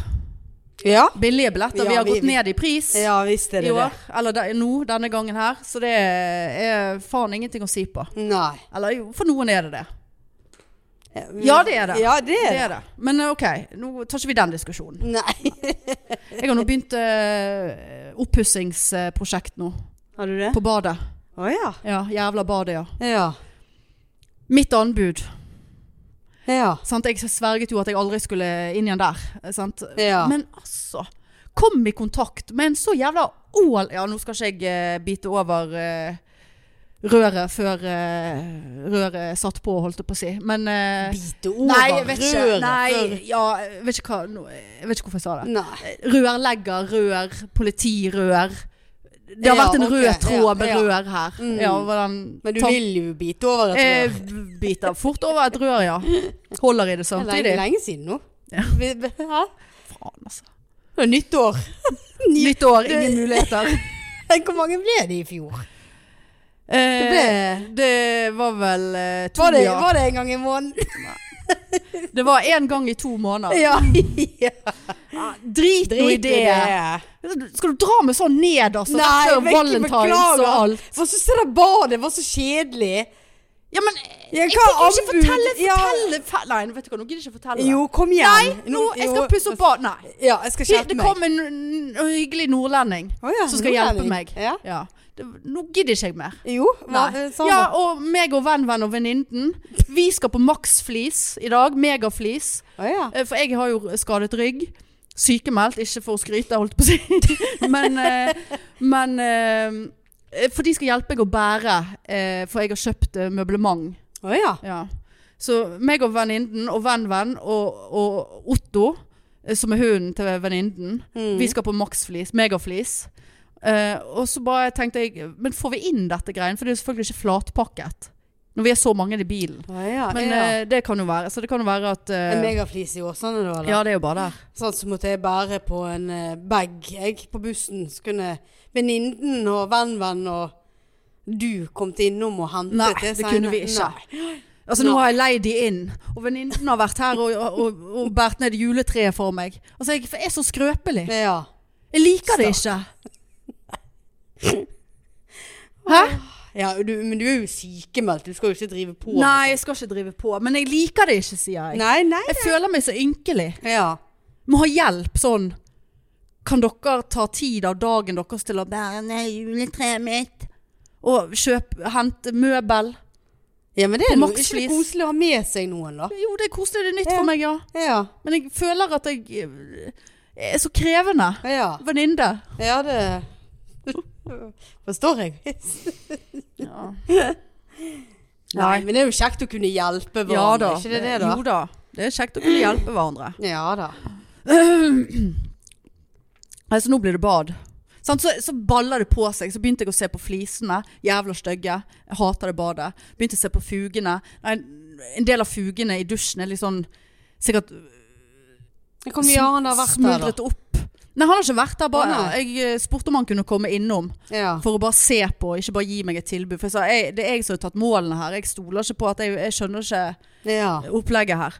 S1: Ja,
S2: Billige
S1: Ja,
S2: billetter. vi har
S1: vi-
S2: gått ned i pris
S1: ja visst er
S2: i
S1: det
S2: år.
S1: det.
S2: Eller de, nå, denne gangen her. Så det er faen ingenting å si på.
S1: Nei.
S2: Eller jo, for noen er det det. Ja, det er det.
S1: Ja, det
S2: det,
S1: er det.
S2: er det. Men eh, ok, nå tar ikke vi den diskusjonen.
S1: Nei.
S2: Jeg har nå begynt uh, oppussingsprosjekt nå.
S1: Har du det?
S2: På badet.
S1: Å ja.
S2: Ja, jævla badet, ja.
S1: Ja.
S2: Mitt anbud.
S1: Ja.
S2: Sant? Jeg sverget jo at jeg aldri skulle inn igjen der. eh, Sant?
S1: Ja.
S2: Men altså, kom i kontakt med en så jævla ål... Ja, nå skal ikke jeg eh, bite over eh, røret før eh, røret er satt på, holdt jeg på å si. Men eh,
S1: Bite over
S2: Nei, jeg vet ikke.
S1: røret
S2: Nei, Eh,
S1: før-
S2: ja, jeg, vet ikke hva, nå, jeg vet ikke hvorfor jeg sa det.
S1: Nei.
S2: Rørlegger, rør, politirør. Det har
S1: Ja,
S2: vært en
S1: ok,
S2: rød tråd med
S1: ja, ja.
S2: rør her.
S1: Mm.
S2: Ja, hva den
S1: Men du
S2: tanken-
S1: vil jo bite over et rør.
S2: Eh, biter fort over et rør, ja. Holder i
S1: Det er lenge,
S2: det samtidig.
S1: lenge siden nå.
S2: Ja.
S1: Vi- vi- Hæ?
S2: Faen, altså.
S1: Det er nytt år.
S2: Nytt år, ingen muligheter.
S1: Hvor mange ble det i fjor? Det, ble,
S2: Eh, det var vel eh, to,
S1: var, det,
S2: ja.
S1: var det en gang i måneden?
S2: Det var én gang i to måneder.
S1: Ja.
S2: Drit, nå i det. Skal du dra meg sånn ned, altså?
S1: Nei,
S2: før
S1: men ikke
S2: Valentines og
S1: beklager.
S2: alt.
S1: Hva syns du det badet var så kjedelig?
S2: Ja, men
S1: Ja, hva
S2: jeg fikk jo ikke
S1: anbud?
S2: fortelle,
S1: Ja.
S2: fortelle fe- Nei, vet du hva, nå gidder jeg ikke fortelle.
S1: Jo, kom igjen.
S2: Nei, nå, jeg skal pusse opp bad. Nei.
S1: Ja, jeg skal
S2: Det
S1: skjerpe meg.
S2: kom en n- hyggelig nordlending
S1: Å ja,
S2: som skal
S1: nordlending.
S2: hjelpe meg.
S1: Ja.
S2: Ja. Det, nå gidder ikke jeg mer.
S1: Jo, hva,
S2: Nei.
S1: sånn
S2: ja,
S1: da.
S2: og meg og venn, venn og venninnen. Vi skal på maksflis i dag. Megaflis.
S1: Å ja.
S2: Eh, For jeg har jo skadet rygg. Sykemeldt, ikke for å skryte, holdt på å si. Men, eh, men eh, For de skal hjelpe meg å bære, eh, for jeg har kjøpt eh, møblement.
S1: Å ja.
S2: Ja. Så meg og venninnen og venn-venn og, og Otto, eh, som er hunden til venninnen,
S1: Mm.
S2: vi skal på maksflis, megaflis. Eh, og så bare tenkte jeg, men får vi inn dette greien? For det er jo selvfølgelig ikke flatpakket. Når vi er så mange i bilen.
S1: Å ja.
S2: Men
S1: ja.
S2: eh, det kan jo være. Så det kan jo være at eh,
S1: en megaflis i Sånn Åsane, da? Eller?
S2: Ja, det er jo bare der.
S1: Sånn så måtte jeg bære på en eh, bag jeg på bussen. Så kunne venninnen og venn-venn og du kommet innom og hentet
S2: Nei,
S1: det.
S2: det
S1: senere.
S2: kunne vi ikke.
S1: Nei.
S2: Altså Nå har jeg leid de inn, og venninnen har vært her og, og, og, og båret ned juletreet for meg. Altså, jeg er så skrøpelig.
S1: Ja.
S2: Jeg liker det ikke. Hæ?
S1: ja du, men du er jo sykemeldt, du skal jo ikke drive på.
S2: Nei, jeg skal ikke drive på. Men jeg liker det ikke, sier jeg.
S1: Nei, nei.
S2: Jeg føler meg så ynkelig.
S1: Ja.
S2: Må ha hjelp sånn. Kan dere ta tid av dagen deres til å bære ned juletreet mitt? Og kjøpe, hente møbel?
S1: Ja, men det
S2: På
S1: er noe,
S2: maksvis.
S1: ikke det koselig å ha med seg noen, da?
S2: Jo, det er koselig. Det er nytt
S1: Ja.
S2: for meg, ja.
S1: Ja.
S2: Men jeg føler at jeg eh, er så krevende.
S1: Ja,
S2: Venninne.
S1: ja det forstår jeg.
S2: Ja.
S1: Nei, men det er jo kjekt å kunne hjelpe hverandre.
S2: Ja da.
S1: Ikke det, det da?
S2: Jo da. Det er kjekt å kunne hjelpe hverandre.
S1: Ja da.
S2: Nei, så nå blir det bad. Sant? Så, så baller det på seg. Så begynte jeg å se på flisene. Jævla stygge. Jeg hater det badet. Begynte å se på fugene. Nei, en del av fugene i dusjen er litt sånn Sikkert
S1: Hvor mye har han da vært der,
S2: smuldret
S1: da?
S2: opp. Nei, han har ikke vært der. Bare.
S1: Å, nei.
S2: Jeg eh, spurte om han kunne komme innom
S1: Ja.
S2: for å bare se på, ikke bare gi meg et tilbud. For jeg sa jeg, det er jeg som har tatt målene her. Jeg stoler ikke på at jeg, jeg skjønner ikke
S1: ja.
S2: opplegget her.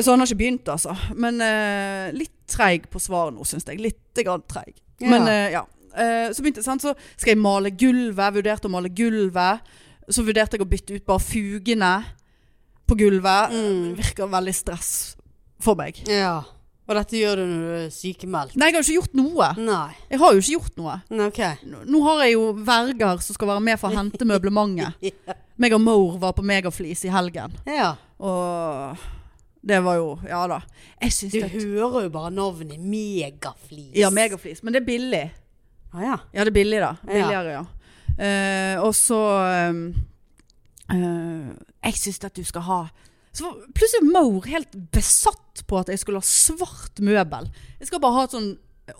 S2: Så han har ikke begynt, altså. Men eh, litt treig på svaret nå, syns jeg. Litt grann treig.
S1: Ja.
S2: Men eh, ja. Eh, så begynte sant? Så skal jeg male gulvet. Jeg Vurderte å male gulvet. Så vurderte jeg å bytte ut bare fugene på gulvet.
S1: Mm.
S2: Virker veldig stress for meg.
S1: ja. Og dette gjør du når du er sykemeldt?
S2: Nei, jeg har jo ikke gjort noe.
S1: Nei.
S2: Jeg har jo ikke gjort noe.
S1: Nei, OK.
S2: Nå nå har jeg jo verger som skal være med for å hente møblementet.
S1: Ja.
S2: Meg og Mor var på Megaflis i helgen.
S1: ja.
S2: Og det var jo Ja da. Jeg syns
S1: Du
S2: det
S1: hører jo bare navnet Megaflis.
S2: Ja, megaflis. Men det er billig.
S1: Ah, ja.
S2: Ja, det er billig, da. Billigere, ja. Eh, og så eh, eh, Jeg syns at du skal ha så var Plutselig er Maur helt besatt på at jeg skulle ha svart møbel. Jeg skal bare ha et sånn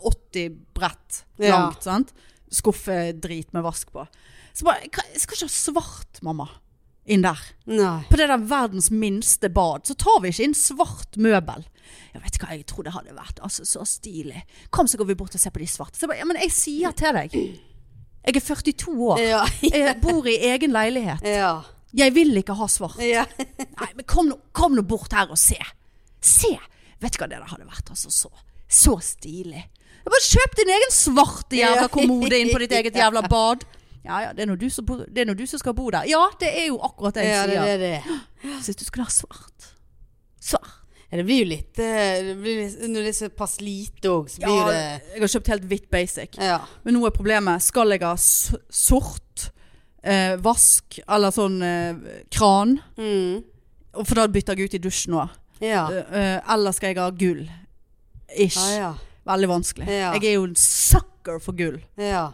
S2: 80 brett
S1: Ja.
S2: langt, sant? Skuffedrit med vask på. Så bare "Hva- Jeg skal ikke ha svart, mamma, inn der.
S1: Nei.
S2: På det der verdens minste bad, så tar vi ikke inn svart møbel. Jeg vet hva jeg tror det hadde vært. Altså, så stilig. Kom, så går vi bort og ser på de svarte. Så jeg bare, ja, men jeg sier til deg. Jeg er 42 år.
S1: Ja.
S2: Jeg bor i egen leilighet.
S1: Ja.
S2: Jeg vil ikke ha svart.
S1: ja.
S2: Nei, men kom nå, kom nå bort her og se. Se! Vet du hva det der hadde vært? Altså, så, så stilig. Jeg bare kjøp din egen svarte jævla
S1: Ja.
S2: kommode inn på ditt eget jævla bad. Ja, ja, det er nå du, som bor- det er nå du som skal bo der. Ja, det er jo akkurat det jeg
S1: ja,
S2: sier.
S1: det er det det er.
S2: Jeg synes du skulle ha svart. Svart.
S1: Ja, det blir jo litt, eh, det blir litt Når det er såpass lite òg, så blir det
S2: jeg har kjøpt helt hvitt basic.
S1: Ja.
S2: Men nå er problemet, skal jeg ha s- sort, eh, vask eller sånn eh, kran?
S1: Mm.
S2: Og For da bytter jeg ut i dusjen nå.
S1: Ja.
S2: Eh, eh, eller skal jeg ha gull? Ish.
S1: Ah, ja.
S2: Veldig vanskelig.
S1: Ja.
S2: Jeg er jo en sucker for gull.
S1: Ja.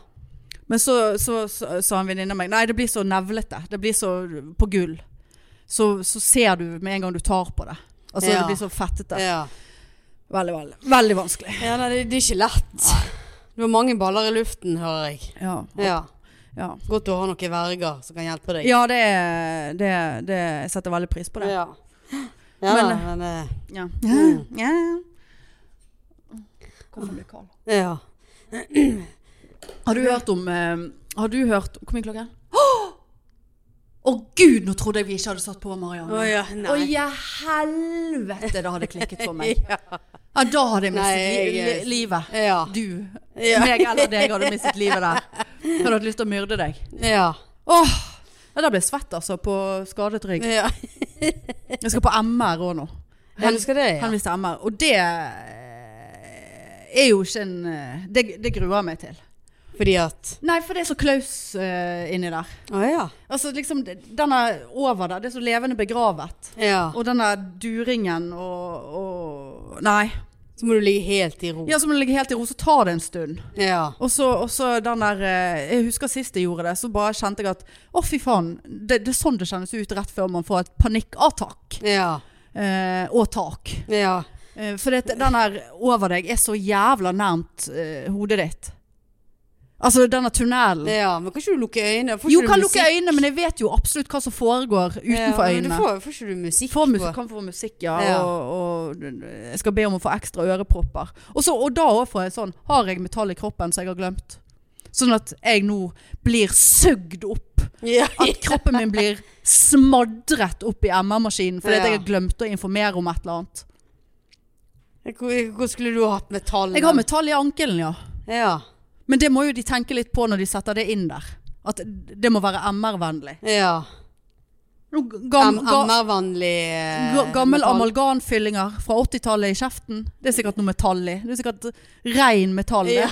S2: Men så så- så- sa en venninne av meg Nei, det blir så nevlete. Det blir så på gull. Så, så ser du med en gang du tar på det. Altså
S1: Ja.
S2: det blir så fettete.
S1: ja.
S2: Veldig, veldig, veldig vanskelig.
S1: ja nei, det, det er ikke lett. Du har mange baller i luften, hører jeg.
S2: Ja.
S1: Ja.
S2: ja.
S1: Godt å ha noen verger som kan hjelpe deg.
S2: Ja, det, det, det jeg setter veldig pris på det.
S1: Ja, ja men,
S2: Men-
S1: da, men eh,
S2: Ja.
S1: Mm.
S2: ja. Hvorfor blir kald?
S1: Ja.
S2: Har du hørt om eh, Har du hørt Hvor mye klokka er? Åh! Å gud, nå trodde jeg vi ikke hadde satt på Marianne.
S1: Å, ja, nei.
S2: Å ja, helvete, det hadde klikket for meg. ja. da hadde jeg
S1: Nei,
S2: mistet li
S1: jeg-
S2: li livet.
S1: Ja.
S2: Du.
S1: Ja.
S2: Meg eller deg hadde mistet livet der. Jeg hadde hatt lyst til å myrde deg.
S1: Ja.
S2: Åh! Ja, da ble jeg svett, altså, på skadet rygg.
S1: ja.
S2: Jeg skal på MR òg nå.
S1: Ja, du skal det, ja.
S2: Henvist til MR. Og det eh, er jo ikke en eh, Det, det gruer jeg meg til.
S1: Fordi at
S2: Nei, for det er så klaus eh, inni der.
S1: Å ja.
S2: Altså liksom, det- Den er over der. Det er så levende begravet.
S1: ja.
S2: Og den der duringen og, og Nei.
S1: Så må du ligge helt i ro.
S2: Ja, så må du ligge helt i ro, så tar det en stund.
S1: Ja.
S2: Og så, og så den der eh, Jeg husker sist jeg gjorde det, så bare kjente jeg at å, fy faen. Det, det er sånn det kjennes ut rett før man får et panikkattak.
S1: Ja.
S2: Eh, og tak.
S1: Ja.
S2: Eh, For det, den her over deg er så jævla nærmt eh, hodet ditt. Altså denne tunnelen.
S1: ja. Men kan ikke du lukke øynene? Får
S2: Jo,
S1: ikke du
S2: kan lukke
S1: musikk?
S2: øynene, men jeg vet jo absolutt hva som foregår utenfor
S1: Ja, men
S2: øynene.
S1: Du får, får ikke du musikk
S2: Får musikk,
S1: på?
S2: kan få musikk, ja.
S1: Ja.
S2: Og, og jeg skal be om å få ekstra ørepropper. Og, så, og da òg får jeg sånn Har jeg metall i kroppen som jeg har glemt? Sånn at jeg nå blir sugd opp.
S1: Ja.
S2: At kroppen min blir smadret opp i MR-maskinen fordi
S1: Ja.
S2: at jeg har glemt å informere om et eller annet.
S1: Hvor, hvor skulle du hatt metall?
S2: Jeg har metall i ankelen, ja.
S1: Ja.
S2: Men det må jo de tenke litt på når de setter det inn der. At det må være MR-vennlig.
S1: Ja.
S2: Nå Noen
S1: Am
S2: gam, ga,
S1: Ammervannlig eh,
S2: ga, gammel
S1: metall.
S2: amalgamfyllinger fra 80-tallet i kjeften. Det er sikkert noe metall i. Det er sikkert rein metall. Det.
S1: Ja.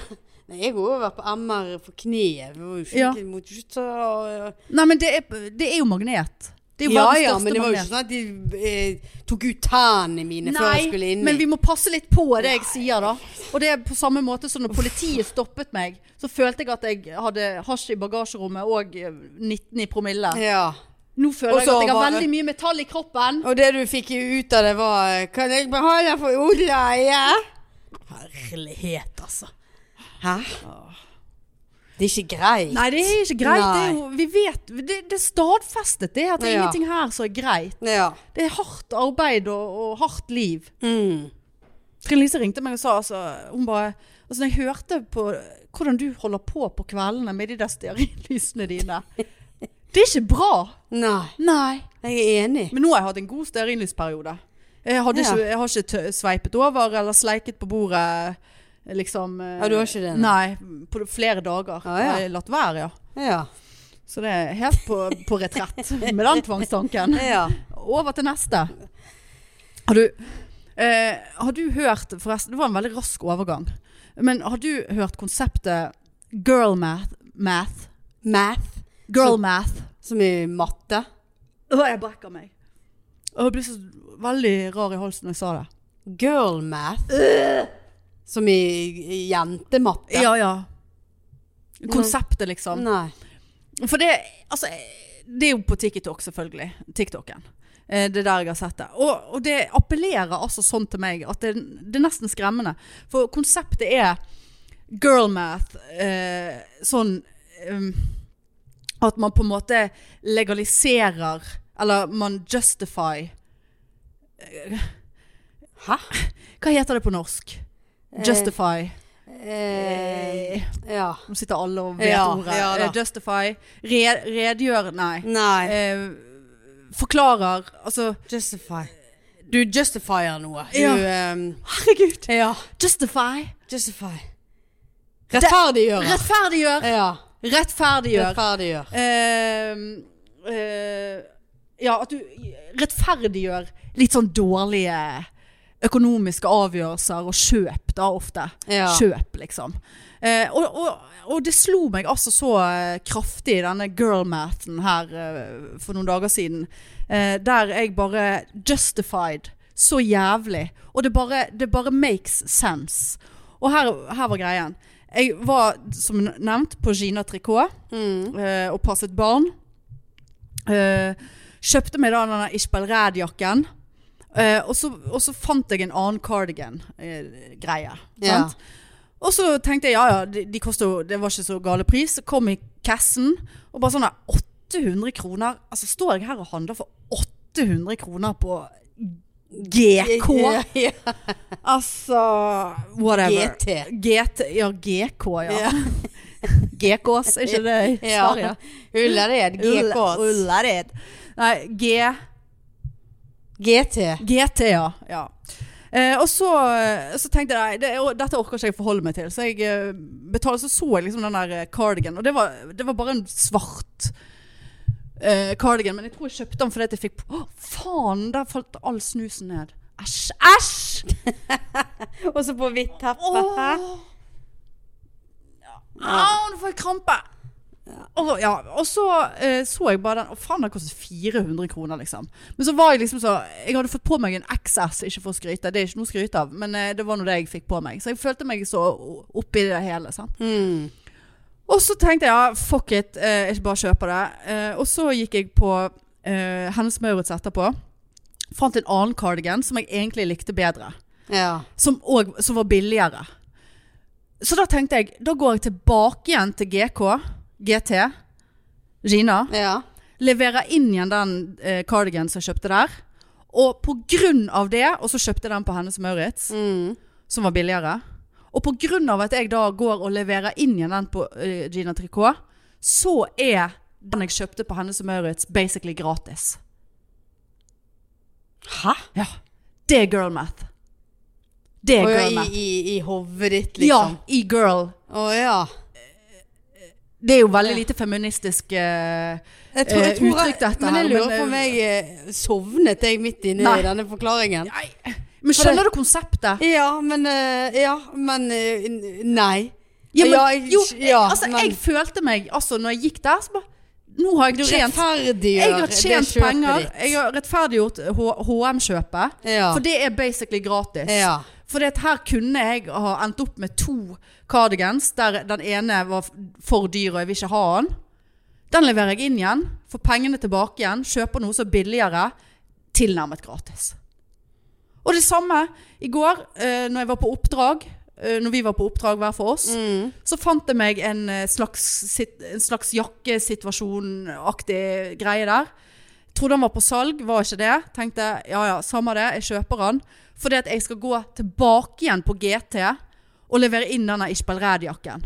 S1: Nei, jeg har jo vært på MR på kneet. Vi må jo ikke,
S2: Ja.
S1: må jo ikke ta
S2: Nei, men det er, det er jo magnet. Det er jo
S1: Ja
S2: verdens
S1: ja,
S2: største
S1: men det var jo
S2: magnet.
S1: ikke sånn at de eh, tok ut tennene mine før jeg skulle inn
S2: men vi
S1: i
S2: må passe litt på det jeg sier da. Og det er på samme måte som når politiet stoppet meg, så følte jeg at jeg hadde hasj i bagasjerommet og eh, 19 i promille.
S1: ja.
S2: Nå føler
S1: Og
S2: jeg
S1: så
S2: at jeg har
S1: var det-
S2: veldig mye metall i kroppen.
S1: Og det du fikk ut av det, var eh, Kan jeg beholde for Olaie? Herlighet, altså. Hæ? Det er ikke greit.
S2: Nei, det er ikke greit. Det
S1: Nei.
S2: er, jo, vi vet, det, det er stadfestet det at det er
S1: Ja.
S2: ingenting her som er greit.
S1: Ja.
S2: Det er hardt arbeid og, og hardt liv.
S1: Mm.
S2: Trine Lise ringte meg og sa altså, Hun bare Altså når jeg hørte på hvordan du holder på på kveldene med de der stearinlysene dine Det er ikke bra.
S1: Nei.
S2: Nei.
S1: Jeg er enig.
S2: Men nå har jeg hatt en god stearinlysperiode. Jeg,
S1: Ja.
S2: hadde ikke, jeg har ikke tø- sveipet over eller sleiket på bordet liksom eh,
S1: Ja, du har ikke det,
S2: Nei. På flere dager.
S1: Ah, ja.
S2: Jeg har jeg latt være, ja.
S1: Ja.
S2: Så det er helt på, på retrett med den tvangstanken.
S1: ja.
S2: Over til neste. Har du, eh, har du hørt Forresten, det var en veldig rask overgang. Men har du hørt konseptet girl math? math?
S1: Math,
S2: Girl
S1: Så-
S2: math.
S1: som i matte.
S2: Å, jeg brekker meg. Og Jeg ble så veldig rar i halsen når jeg sa det.
S1: Girl math. Som i i jentematte.
S2: Ja, ja. Konseptet, liksom.
S1: Nei.
S2: For det, altså, det er jo på TikTok, selvfølgelig. TikToken. Eh, Det er der jeg har sett det. Og, og det appellerer altså sånn til meg at det, det er nesten skremmende. For konseptet er girlmath. Eh, sånn eh, at man på en måte legaliserer Eller man justify eh,
S1: Hæ?
S2: Hva heter det på norsk? Justify.
S1: Eh, ja.
S2: Nå sitter alle og vet
S1: Ja,
S2: ordet.
S1: ja da.
S2: Eh, Justify. Re redegjør Nei.
S1: Nei.
S2: Eh, forklarer. Altså
S1: Justify. Du justifier noe. Du,
S2: Ja.
S1: ehm,
S2: Herregud!
S1: ja.
S2: Justify.
S1: Justify. Rettferdiggjøre.
S2: Rettferdiggjør.
S1: Ja.
S2: Rettferdiggjør.
S1: Rettferdiggjør.
S2: Eh, eh, ja, at du rettferdiggjør litt sånn dårlige økonomiske avgjørelser og kjøp, da ofte.
S1: Ja.
S2: Kjøp, liksom. Eh, og, og, og det slo meg altså så eh, kraftig, denne girlmathen her eh, for noen dager siden. eh, der jeg bare justified så jævlig. Og det bare, det bare makes sense. Og her, her var greien. Jeg var, som nevnt, på Gina Tricot
S1: Mm.
S2: eh, og passet barn. Eh, kjøpte meg da denne Ishbel Red-jakken. eh, og, så, og så fant jeg en annen eh, cardigan-greie.
S1: Ja.
S2: Og så tenkte jeg ja ja, de, de koster jo Det var ikke så gale pris. Så kom i kassen og bare sånn der 800 kroner. Altså står jeg her og handler for 800 kroner på GK?
S1: Ja.
S2: Altså Whatever.
S1: GT.
S2: GT ja, GK, ja.
S1: Ja.
S2: GKs, er ikke det i Sverige?
S1: ja. Ullared.
S2: Ulla-
S1: GK.
S2: Ullared. Nei, G,
S1: GT.
S2: GT, ja. ja. Eh, og så, så tenkte jeg nei, det, og dette orker ikke jeg forholde meg til. Så jeg eh, betalte, så så jeg liksom den der eh, cardigan, og det var, det var bare en svart eh, cardigan. Men jeg tror jeg kjøpte den fordi at jeg fikk Å, faen! Der falt all snusen ned. Æsj! Æsj!
S1: Og så på hvitt teppe.
S2: Åh!
S1: Hæ?
S2: Au, nå får jeg krampe! Og, ja, og så eh, så jeg bare den Å, faen, den kostet 400 kroner, liksom. Men så var jeg liksom så Jeg hadde fått på meg en XS, ikke for å skryte, det er ikke noe å skryte av, men eh, det var nå det jeg fikk på meg. Så jeg følte meg så o- oppi det hele, sant.
S1: Mm.
S2: Og så tenkte jeg ja, fuck it, eh, jeg bare kjøper det. Eh, og så gikk jeg på eh, Hennes Maurits etterpå. Fant en annen cardigan som jeg egentlig likte bedre
S1: Ja.
S2: som, og, som var billigere. Så da tenkte jeg, da går jeg tilbake igjen til GK, GT, Gina,
S1: Ja.
S2: leverer inn igjen den eh, cardigan som jeg kjøpte der, og på grunn av det, og så kjøpte jeg den på hennes Maurits,
S1: Mm.
S2: som var billigere, og på grunn av at jeg da går og leverer inn igjen den på eh, Gina Tricot, så er den jeg kjøpte på hennes Maurits basically gratis.
S1: Hæ?
S2: Ja, det er girl math. Det er
S1: Og
S2: girl
S1: i, liksom.
S2: math.
S1: i, i hovedet ditt, liksom.
S2: Ja, i girl
S1: Å ja.
S2: Det er jo veldig lite feministisk eh,
S1: Jeg tror, jeg
S2: eh,
S1: tror,
S2: uttrykk dette
S1: men jeg
S2: her,
S1: lurer
S2: men,
S1: på om jeg eh, sovnet jeg midt inne
S2: Nei.
S1: i denne forklaringen.
S2: Nei. Men skjønner du konseptet?
S1: Ja, men eh, Ja, men eh, n- Nei.
S2: Ja, men,
S1: jeg-
S2: jo,
S1: ja,
S2: altså,
S1: men-
S2: jeg følte meg Altså, når jeg gikk der, så bare Nå har
S1: Du
S2: jeg tjent Jeg
S1: rettferdiggjør
S2: har tjent
S1: kjøpet
S2: penger.
S1: ditt.
S2: Jeg har rettferdiggjort H- HM-kjøpet.
S1: Ja.
S2: For det er basically gratis.
S1: ja.
S2: For det at her kunne jeg ha endt opp med to cardigans, der den ene var f- for dyr og jeg vil ikke ha den. Den leverer jeg inn igjen, får pengene tilbake igjen, kjøper noe som er billigere, tilnærmet gratis. Og det samme i går, eh, når jeg var på oppdrag, eh, når vi var på oppdrag hver for oss, så fant jeg meg en eh, slags, sit- en slags jakkesituasjonaktig greie der. Trodde han var på salg, var ikke det. Tenkte ja ja, samme det, jeg kjøper han. Fordi at jeg skal gå tilbake igjen på GT og levere inn denne Ishbel Red-jakken.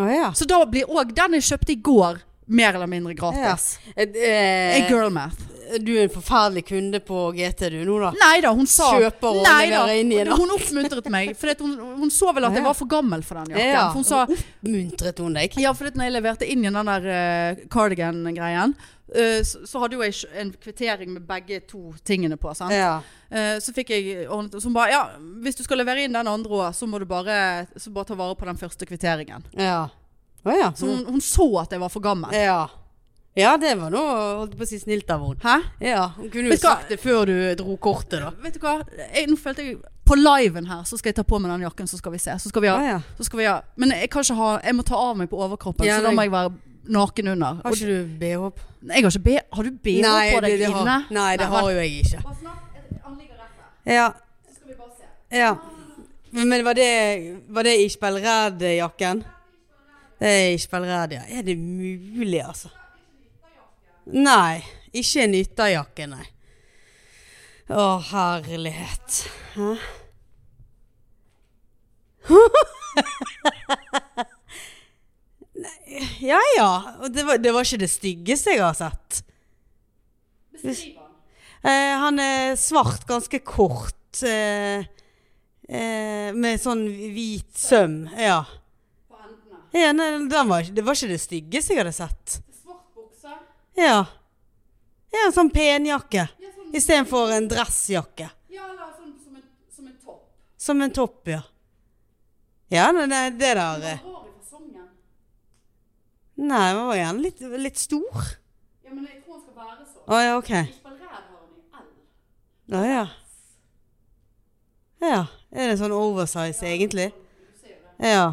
S1: Å ja.
S2: Så da blir òg den jeg kjøpte i går, mer eller mindre gratis.
S1: Et,
S2: Er
S1: eh,
S2: girl math.
S1: du er en forferdelig kunde på GT du nå, da.
S2: Nei da, hun sa
S1: Kjøper og
S2: Nei da,
S1: leverer inn igjen, da.
S2: Hun oppmuntret meg, for hun, hun så vel at jeg
S1: Ja.
S2: var for gammel for den jakken.
S1: Ja.
S2: For hun sa
S1: Muntret hun deg?
S2: Ja, for at når jeg leverte inn igjen den der eh, cardigan-greien, eh, så, så hadde jo jeg sj- en kvittering med begge to tingene på. Sant?
S1: Ja.
S2: Eh, så fikk jeg ordnet og Så hun bare Ja, hvis du skal levere inn den andre òg, så må du bare, så bare ta vare på den første kvitteringen.
S1: Ja. Å ja. Mm.
S2: Så hun, hun så at jeg var for gammel.
S1: ja. Ja, det var nå holdt jeg på å si snilt av henne.
S2: Hæ?
S1: Ja, hun kunne jo
S2: Vet du hva?
S1: sagt det før du dro kortet, da.
S2: Vet du hva? Jeg, nå følte jeg På liven her så skal jeg ta på meg den jakken, så skal vi se. Så skal vi ha,
S1: Å ja.
S2: så skal vi ha Men jeg kan ikke ha Jeg må ta av meg på overkroppen,
S1: Ja,
S2: så da
S1: nei.
S2: må jeg være naken under.
S1: Har
S2: Og,
S1: ikke du BH på?
S2: jeg har ikke B... Har du BH på deg
S1: det
S2: inne?
S1: har, nei, det
S2: Nei,
S1: har
S2: vel.
S1: jo jeg ikke.
S2: Bare snakk, han ligger rett der.
S1: Ja,
S2: Så skal vi bare se.
S1: ja. Men, men var det, var det Ishbel Red-jakken? Det er Ishbel Red, ja. Er det mulig, altså? Nei, ikke en ytterjakke, nei. Å, herlighet. Hæ? Nei, ja, ja. Og Det var, det var ikke det styggeste jeg har sett.
S2: Beskriv han.
S1: Eh, han er svart, ganske kort. Eh, eh, med sånn hvit søm. Ja.
S2: På endene.
S1: ja nei, den var, ikke- det var ikke det styggeste jeg hadde sett.
S2: Svart bukse.
S1: Ja. ja en sånn penjakke
S2: Ja, sånn,
S1: istedenfor en dressjakke.
S2: ja eller sånn som en, som en topp.
S1: Som en topp, ja. Ja, nei, nei, det der eh,
S2: Rare fasongen.
S1: Nei, den var gjerne litt, litt stor.
S2: Ja, men jeg tror han skal være sånn.
S1: Å ja, OK.
S2: Isbel Red har han i L.
S1: Å ja. Ja. Er det sånn oversize, egentlig?
S2: Du ser jo det.
S1: Ja.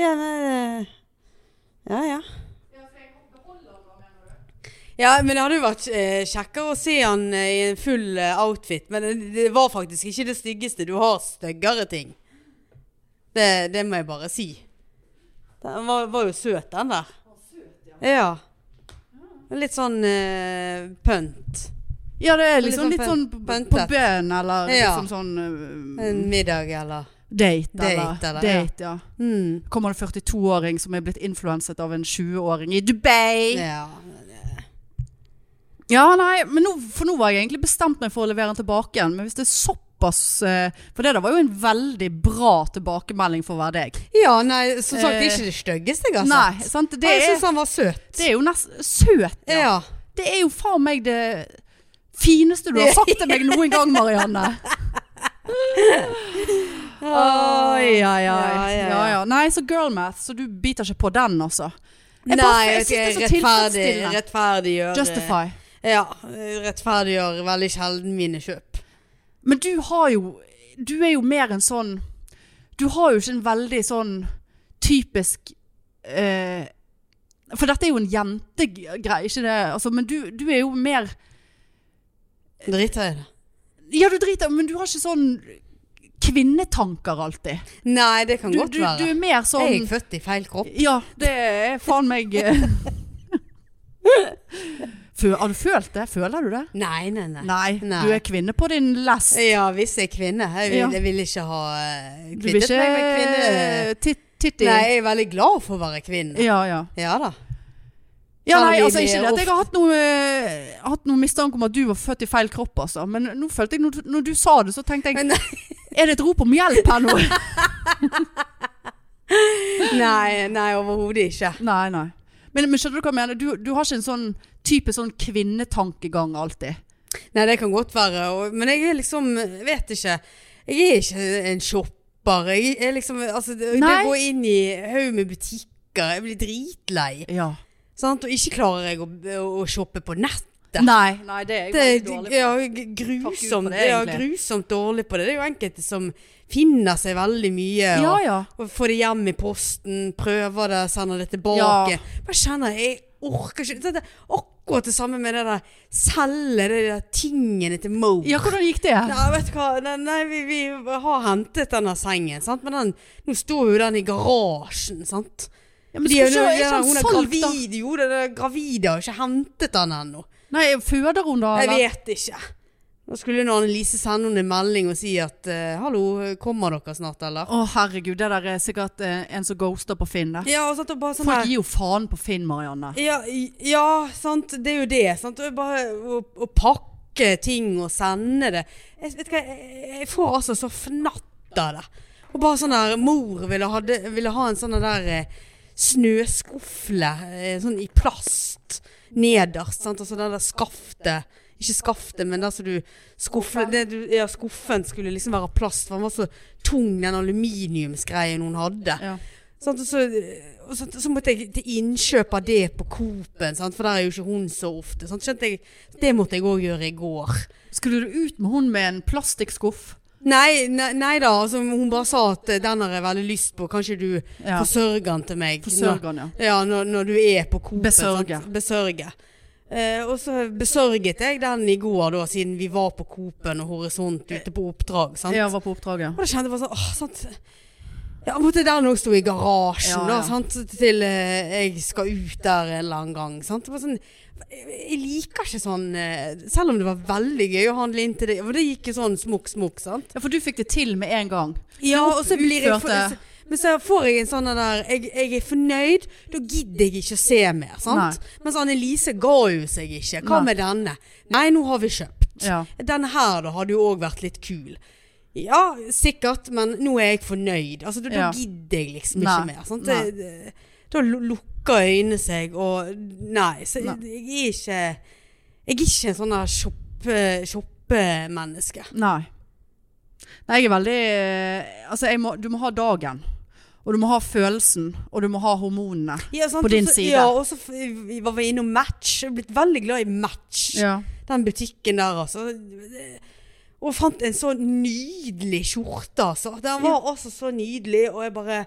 S1: Ja, nei, det- ja, ja.
S2: Ja, for jeg beholder han da, mener du?
S1: Ja, men det hadde jo vært eh, kjekkere å se han eh, i en full eh, outfit. Men det, det var faktisk ikke det styggeste. Du har styggere ting. Det, det må jeg bare si. Den var, var jo søt, den der.
S2: Han er søt, ja.
S1: Ja. Litt sånn eh, pønt.
S2: Ja, det er
S1: liksom
S2: liksom
S1: litt
S2: litt sånn på,
S1: pøntet.
S2: på bønn, eller
S1: Ja.
S2: liksom sånn eh,
S1: En middag, eller
S2: date, eller,
S1: Date, eller,
S2: date, ja.
S1: mm.
S2: Kommer det 42-åring som er blitt influenset av en 20-åring i Dubai?
S1: Ja.
S2: Ja, nei, men nå, for nå var jeg egentlig bestemt meg for å levere den tilbake igjen. Men hvis det er såpass eh, For det der var jo en veldig bra tilbakemelding for å være deg.
S1: ja, nei, som sagt, det er
S2: Eh,
S1: ikke det styggeste jeg har
S2: Nei,
S1: sett.
S2: sant?
S1: Det
S2: Det
S1: jeg
S2: er,
S1: syns han var søt.
S2: det er jo nesten søt.
S1: Ja.
S2: Ja. Det er jo faen meg det fineste du har sagt til meg noen gang, Marianne. Oi,
S1: Ja,
S2: ja, ja.
S1: ja, ja.
S2: ja, ja. Nei, så girl math, så du biter ikke på den, altså. Jeg bare-
S1: Nei,
S2: jeg synes
S1: jeg
S2: det er så
S1: rettferdig,
S2: tilfredsstillende.
S1: rettferdiggjør eh,
S2: Justify.
S1: Ja, rettferdiggjør veldig sjelden mine kjøp.
S2: Men du har jo Du er jo mer en sånn Du har jo ikke en veldig sånn typisk eh, For dette er jo en jentegreie, ikke det? Altså, men du, du er jo mer
S1: Driter jeg i det?
S2: Ja, du driter, men du har ikke sånn kvinnetanker alltid.
S1: Nei, det kan
S2: Du,
S1: godt
S2: du,
S1: være.
S2: du er mer
S1: Jeg er
S2: sånn
S1: født i feil kropp.
S2: Ja, det er faen meg eh. Fø- Har du følt det? Føler du det?
S1: Nei, nei, nei.
S2: Nei.
S1: Nei.
S2: Du er kvinne på din lest.
S1: Ja, hvis jeg er kvinne. Jeg vil,
S2: Ja.
S1: jeg vil ikke ha eh,
S2: Du er
S1: kvittet
S2: ikke
S1: meg med kvinne.
S2: eh, tit- titti?
S1: Nei, jeg er veldig glad for å være kvinne.
S2: Ja, ja.
S1: Ja da.
S2: Ja,
S1: Kan
S2: nei,
S1: vi
S2: altså
S1: bli
S2: ikke det at jeg
S1: ofte-
S2: har hatt noe, eh, hatt noe mistanke om at du var født i feil kropp, altså. Men nå følte jeg, når, du- når du sa det, så tenkte jeg
S1: Men-
S2: Er det et rop om hjelp her nå?
S1: Nei, Nei, nei overhodet ikke.
S2: Nei, nei. Men, men skjønner du hva jeg mener? Du, du har ikke en sånn type sånn kvinnetankegang alltid.
S1: Nei, det kan godt være. Og, men jeg er liksom jeg Vet ikke. Jeg er ikke en shopper. Jeg er liksom Altså, det, det
S2: Nei.
S1: å gå inn i haug med butikker Jeg blir dritlei.
S2: Ja.
S1: Sant? Og ikke klarer jeg å, å shoppe på nett. Det-
S2: Nei, nei, det er
S1: Det
S2: jeg
S1: er
S2: veldig dårlig på.
S1: ja, g- grusomt,
S2: Takk Gud for det,
S1: ja,
S2: egentlig.
S1: grusomt dårlig på det. Det er jo enkelte som finner seg veldig mye. Og,
S2: Ja, ja.
S1: og får det hjem i posten, prøver det, sender det tilbake.
S2: Ja.
S1: Bare kjenner jeg orker ikke det, er Akkurat det samme med det der selge de der tingene til Mo.
S2: Ja, hvordan gikk det?
S1: Nei, vet du hva? Nei, nei vi, vi har hentet denne sengen, sant? men den, nå står jo den i garasjen. sant?
S2: Ja, men
S1: Fordi
S2: skulle
S1: hun,
S2: ikke-
S1: ja,
S2: ikke han
S1: hun er
S2: solgt, sånn da?
S1: gravid, jo, den er gravid, jeg har ikke hentet den ennå.
S2: Nei, føder hun da?
S1: Jeg
S2: eller?
S1: vet ikke. Nå skulle nå Annelise sende henne en melding og si at eh, 'hallo, kommer dere snart', eller?
S2: Å herregud, det der er sikkert eh, en som ghoster på Finn der.
S1: Ja, og sånn, og bare sånn
S2: Folk
S1: her-
S2: gir jo faen på Finn, Marianne.
S1: Ja, i- ja, sant. Det er jo det. Sant? Og Bare å, å pakke ting og sende det. Jeg, vet du hva, jeg, jeg får altså så fnatt av det. Og bare sånn der Mor ville ha, det- ville ha en sånn der eh, snøskuffle eh, sånn i plast nederst. Sant? Og så det der skaftet. Ikke skaftet, men der som du skuffen, det du, ja, skuffen skulle liksom være av plast. For den var så tung, den aluminiumsgreien hun hadde.
S2: Ja.
S1: Sant, og så, og så, så måtte jeg til innkjøp av det på Coop-en, sant, for der er jo ikke hun så ofte. Sant, skjønte jeg, det måtte jeg òg gjøre i går.
S2: Skulle du ut med hun med en plastikkskuff?
S1: Nei, nei, nei da, altså, hun bare sa at eh, den har jeg veldig lyst på, kanskje du
S2: Ja.
S1: forsørger den til meg.
S2: Forsørger den, ja.
S1: Når, ja, når, når du er på Coop.
S2: Besørge.
S1: sant? Besørge. Eh, og så besørget jeg den i går, da, siden vi var på Coop-en og Horisont ute på oppdrag. Sant?
S2: Ja, var på oppdraget.
S1: Og da kjente jeg bare sånn, åh, sant. Ja, måtte den også stå i garasjen
S2: Ja,
S1: da,
S2: ja.
S1: sant, til eh, jeg skal ut der en eller annen gang, sant. Det var sånn, jeg jeg liker ikke sånn, eh, selv om det var veldig gøy å handle inn til det, for det gikk jo sånn smukk, smukk, sant.
S2: Ja, for du fikk det til med en gang.
S1: Ja, og så blir jeg,
S2: utførte-
S1: men så får jeg en sånn der, jeg, jeg er fornøyd, da gidder jeg ikke å se mer, sant. Mens Annelise ga jo seg ikke, hva
S2: Nei.
S1: med denne? Nei, nå har vi kjøpt.
S2: Ja.
S1: Denne her da hadde jo òg vært litt kul. Ja, sikkert, men nå er jeg fornøyd. Altså, da,
S2: Ja.
S1: da gidder jeg liksom
S2: Nei.
S1: ikke mer. Sant? Det, det, da lu- lukker øynene seg, og Nei, så
S2: Nei.
S1: Jeg, jeg er ikke Jeg er ikke en sånn der shoppe- shoppemenneske.
S2: Nei. Nei, jeg er veldig eh, Altså, jeg må, du må ha dagen. Og du må ha følelsen. Og du må ha hormonene.
S1: Ja, sant?
S2: På din
S1: Og så-
S2: side.
S1: Ja, og så f- vi var vi innom Match. Jeg er blitt veldig glad i Match.
S2: Ja.
S1: Den butikken der, altså. Og fant en så nydelig skjorte, altså. Den var altså så nydelig, og jeg bare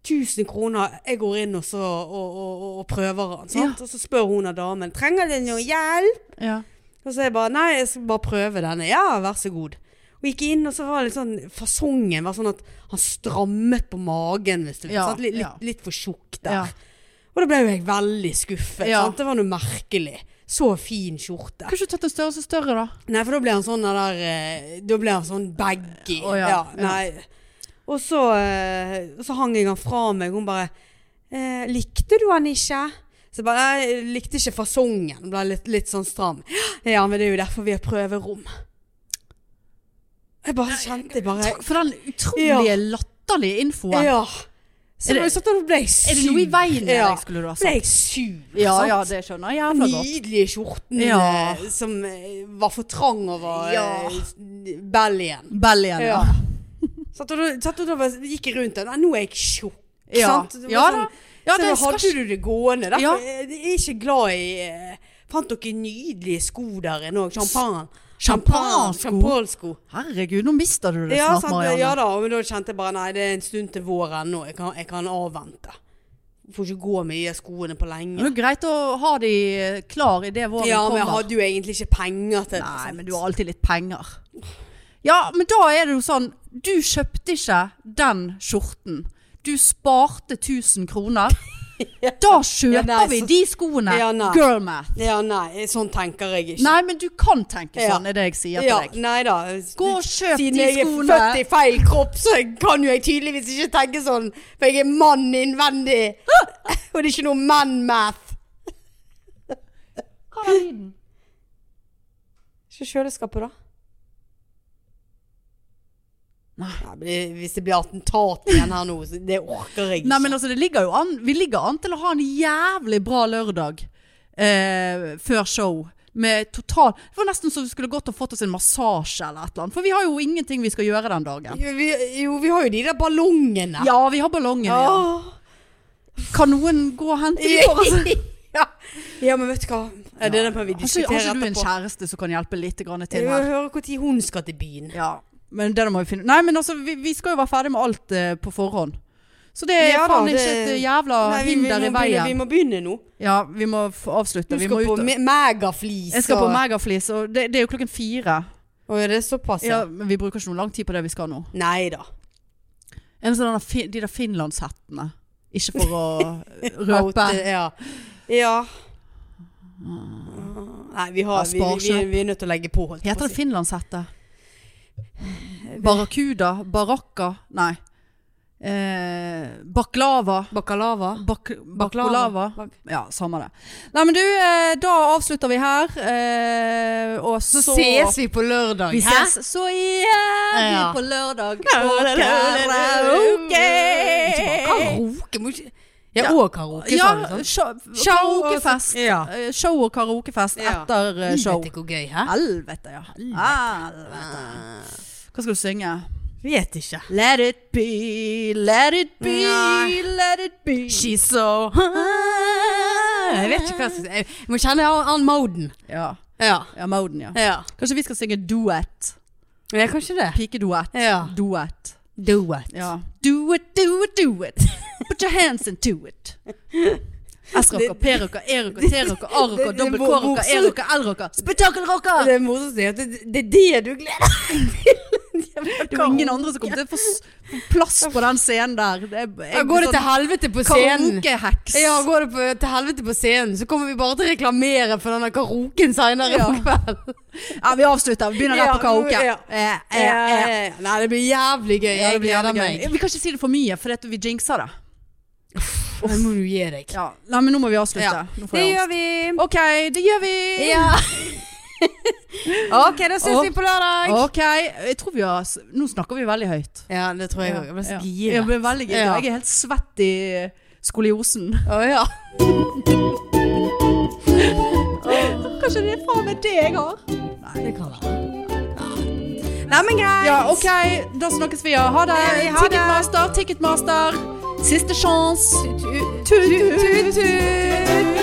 S1: 1000 kroner. Jeg går inn og, så, og, og, og, og prøver den. Sant? Og så spør hun av damen trenger du noe hjelp.
S2: ja.
S1: Og så jeg bare nei, jeg skal bare prøve denne. Ja, vær så god. Og gikk inn, og så var det litt sånn fasongen var sånn at han strammet på magen. Hvis du vil,
S2: Ja,
S1: sant? Litt,
S2: ja.
S1: litt, litt for tjukk der.
S2: Ja.
S1: Og da ble jo jeg veldig skuffet.
S2: Ja.
S1: Sant? Det var noe merkelig. Så fin skjorte.
S2: Kunne ikke du tatt en størrelse større, da?
S1: Nei, for da ble han sånn der eh, Da ble han sånn baggy.
S2: Å ja,
S1: ja,
S2: ja.
S1: nei. Og så, eh, så hang jeg han fra meg. Hun bare eh, 'Likte du han ikke?' Så jeg bare «Nei, jeg likte ikke fasongen. Ble litt, litt sånn stram. Ja, men det er jo derfor vi har prøverom. Jeg bare kjente jeg bare
S2: Takk for den utrolige latterlige infoen.
S1: Ja. Så
S2: Er det-
S1: det, sånn, da ble jeg sur.
S2: Er det noe i veien med
S1: Ja.
S2: deg, skulle du ha
S1: Ble
S2: sagt?
S1: jeg sur.
S2: Ja,
S1: sant?
S2: ja, det skjønner
S1: Den
S2: jeg jævla godt.
S1: nydelige skjorten
S2: Ja.
S1: eh, som eh, var for trang over
S2: Ja.
S1: eh, bellyen.
S2: Bellyen,
S1: Ja.
S2: ja.
S1: Satt og, satt og da bare gikk jeg rundt der. Nei, nå er jeg tjukk.
S2: Ja,
S1: sant? Det var
S2: ja da.
S1: sånn,
S2: Ja,
S1: så
S2: det
S1: da
S2: skal
S1: hadde
S2: ikke
S1: du det gående. Derfor
S2: Ja.
S1: er jeg er ikke glad i eh, Fant dere nydelige sko der inne òg? Champagne.
S2: Champagne-sko?
S1: Champagne-sko.
S2: Herregud, nå mister du det
S1: Ja,
S2: snart,
S1: sant,
S2: Marianne.
S1: ja da, men da kjente jeg bare nei, det er en stund til vår ennå. Jeg, kan- jeg kan avvente. Får ikke gå med de skoene på
S2: Men Det
S1: lenge.
S2: er jo greit å ha de eh, klar i det våren
S1: Ja, men jeg
S2: kommer.
S1: hadde jo egentlig ikke penger til det.
S2: Nei,
S1: sant?
S2: men du har alltid litt penger. Ja, men da er det jo sånn Du kjøpte ikke den skjorten. Du sparte 1000 kroner. Da kjøper
S1: Ja, nei,
S2: vi
S1: så-
S2: de skoene.
S1: Ja, nei.
S2: Girl math.
S1: Ja, nei, sånn tenker jeg ikke.
S2: Nei, men du kan tenke
S1: Ja.
S2: sånn, er det jeg sier til
S1: ja,
S2: deg.
S1: nei da.
S2: Gå og kjøp
S1: Siden
S2: de
S1: jeg er
S2: skoene.
S1: født i feil kropp, så kan jo jeg tydeligvis ikke tenke sånn. For jeg er mann innvendig. Og det er ikke noe man-math.
S2: Hva var lyden?
S1: Ikke kjøleskapet, da? Nei, men det- Hvis det blir attentat igjen her nå, så det orker jeg ikke.
S2: Nei, men altså, det ligger jo an, vi ligger an til å ha en jævlig bra lørdag eh, før show. Med total Det var nesten så vi skulle gått og fått oss en massasje eller et eller annet. For vi har jo ingenting vi skal gjøre den dagen.
S1: jo, vi, jo, vi har jo de der ballongene.
S2: Ja, vi har ballongen. Ja.
S1: Åh.
S2: Kan noen gå og hente de for altså. oss?
S1: ja. ja, men vet du hva? Er det den vi
S2: Altså,
S1: diskuterer
S2: har ikke du en
S1: etterpå?
S2: kjæreste som kan hjelpe litt grann til
S1: Jeg
S2: her?
S1: vil høre når hun skal til byen.
S2: Ja, men det må vi finne Nei, men altså, vi, vi skal jo være ferdig med alt eh, på forhånd. Så det er
S1: Ja da,
S2: faen ikke
S1: det-
S2: et eh, jævla
S1: Nei, vi, vi, må
S2: hinder i
S1: begynne, vi
S2: veien.
S1: må begynne nå.
S2: Ja, vi må f- avslutte.
S1: Du
S2: Vi
S1: skal
S2: må
S1: på
S2: ut.
S1: me- megaflis.
S2: Jeg skal på
S1: og-
S2: Megaflis, og det, det er jo klokken fire.
S1: Å, er det såpass?
S2: Ja,
S1: Ja.
S2: men vi bruker ikke noe lang tid på det vi skal nå.
S1: Nei da.
S2: En sånn der fi- de der finlandshettene. Ikke for å røpe.
S1: Out,
S2: eh,
S1: Ja. ja. Nei, vi, har, vi, vi, vi,
S2: Sparsnapp.
S1: vi er nødt til å legge på. Holdt jeg på
S2: Heter
S1: å
S2: det
S1: si.
S2: finlandshette? Barrakuda? Barakka? Nei. Eh, baklava?
S1: Baklava?
S2: Bak
S1: Baklava.
S2: baklava? Ja, samme det. Nei, men du, eh, da avslutter vi her. Eh, og så,
S1: Så ses vi på lørdag.
S2: Vi
S1: hæ?
S2: ses så jævlig
S1: Ja.
S2: på lørdag.
S1: Ja,
S2: På
S1: det- det- det-
S2: karaoke!
S1: Ikke bare karaoke. Må ikke Ja,
S2: Ja.
S1: og karaoke, sa du
S2: Ja,
S1: sånn.
S2: show,
S1: Show-
S2: karaokefest.
S1: Ja.
S2: Eh, Show og karaokefest
S1: Ja.
S2: etter eh, show.
S1: Helvete, hvor gøy, hæ?
S2: Helvete, ja. Helvete. Ah. Hva skal du synge?
S1: Vet ikke.
S2: Let it be, let it be,
S1: Nei.
S2: let it be.
S1: She's so high. Jeg vet ikke hva jeg skal si. Jeg må kjenne an- an moden.
S2: Ja,
S1: Ja.
S2: ja Moden, ja.
S1: ja.
S2: Kanskje vi skal synge duett.
S1: Ja, kanskje det.
S2: Pikeduett.
S1: Ja.
S2: Duett.
S1: Do it.
S2: Ja. Do it, do it, do it. Put your hands into it. S-rocker, P-rocker, E-rocker, T-rocker, A-rocker,
S1: Det- det
S2: dobbel
S1: må-
S2: K-rocker,
S1: morsomt.
S2: E-rokker, L-rocker. Spetakkelrocker!
S1: Det er morsomt å si at det, det er det du gleder deg
S2: Det var ingen andre som kom til å få s- få plass på den scenen der. Det er,
S1: Ja, går det til helvete på scenen?
S2: sånn Karaokeheks.
S1: Ja, går det på, til helvete på scenen, så kommer vi bare til å reklamere for denne karaoken seinere
S2: Ja.
S1: på kvelden.
S2: Ja, vi avslutter. Vi begynner der
S1: Ja,
S2: på karaoke.
S1: ja.
S2: Eh, eh, eh.
S1: Nei, det blir jævlig gøy.
S2: Ja,
S1: Jeg
S2: det blir
S1: gleder
S2: jævlig gøy.
S1: meg.
S2: Vi kan ikke si det for mye, for vi jinxer det.
S1: Nå må du gi deg.
S2: Ja. Nei, men nå må vi avslutte.
S1: Ja.
S2: Nå får jeg angst.
S1: vi.
S2: OK, det gjør vi.
S1: Ja. ok, da ses
S2: Og-
S1: vi på lørdag.
S2: OK. Jeg tror vi har s- Nå snakker vi veldig høyt.
S1: Ja, det tror jeg òg. Jeg ble så
S2: Ja.
S1: gira.
S2: Jeg ble veldig gira.
S1: Ja.
S2: Jeg er helt svett i skoliosen.
S1: Å ja.
S2: Kanskje det er faen meg det jeg har.
S1: Det kan være. Nei, men greit.
S2: Ja, OK. Da snakkes vi, ja. Ha det.
S1: Ja, ha det.
S2: Ticketmaster, Ticketmaster. Siste sjanse.
S1: Tut, tut,
S2: Tut,
S1: tut.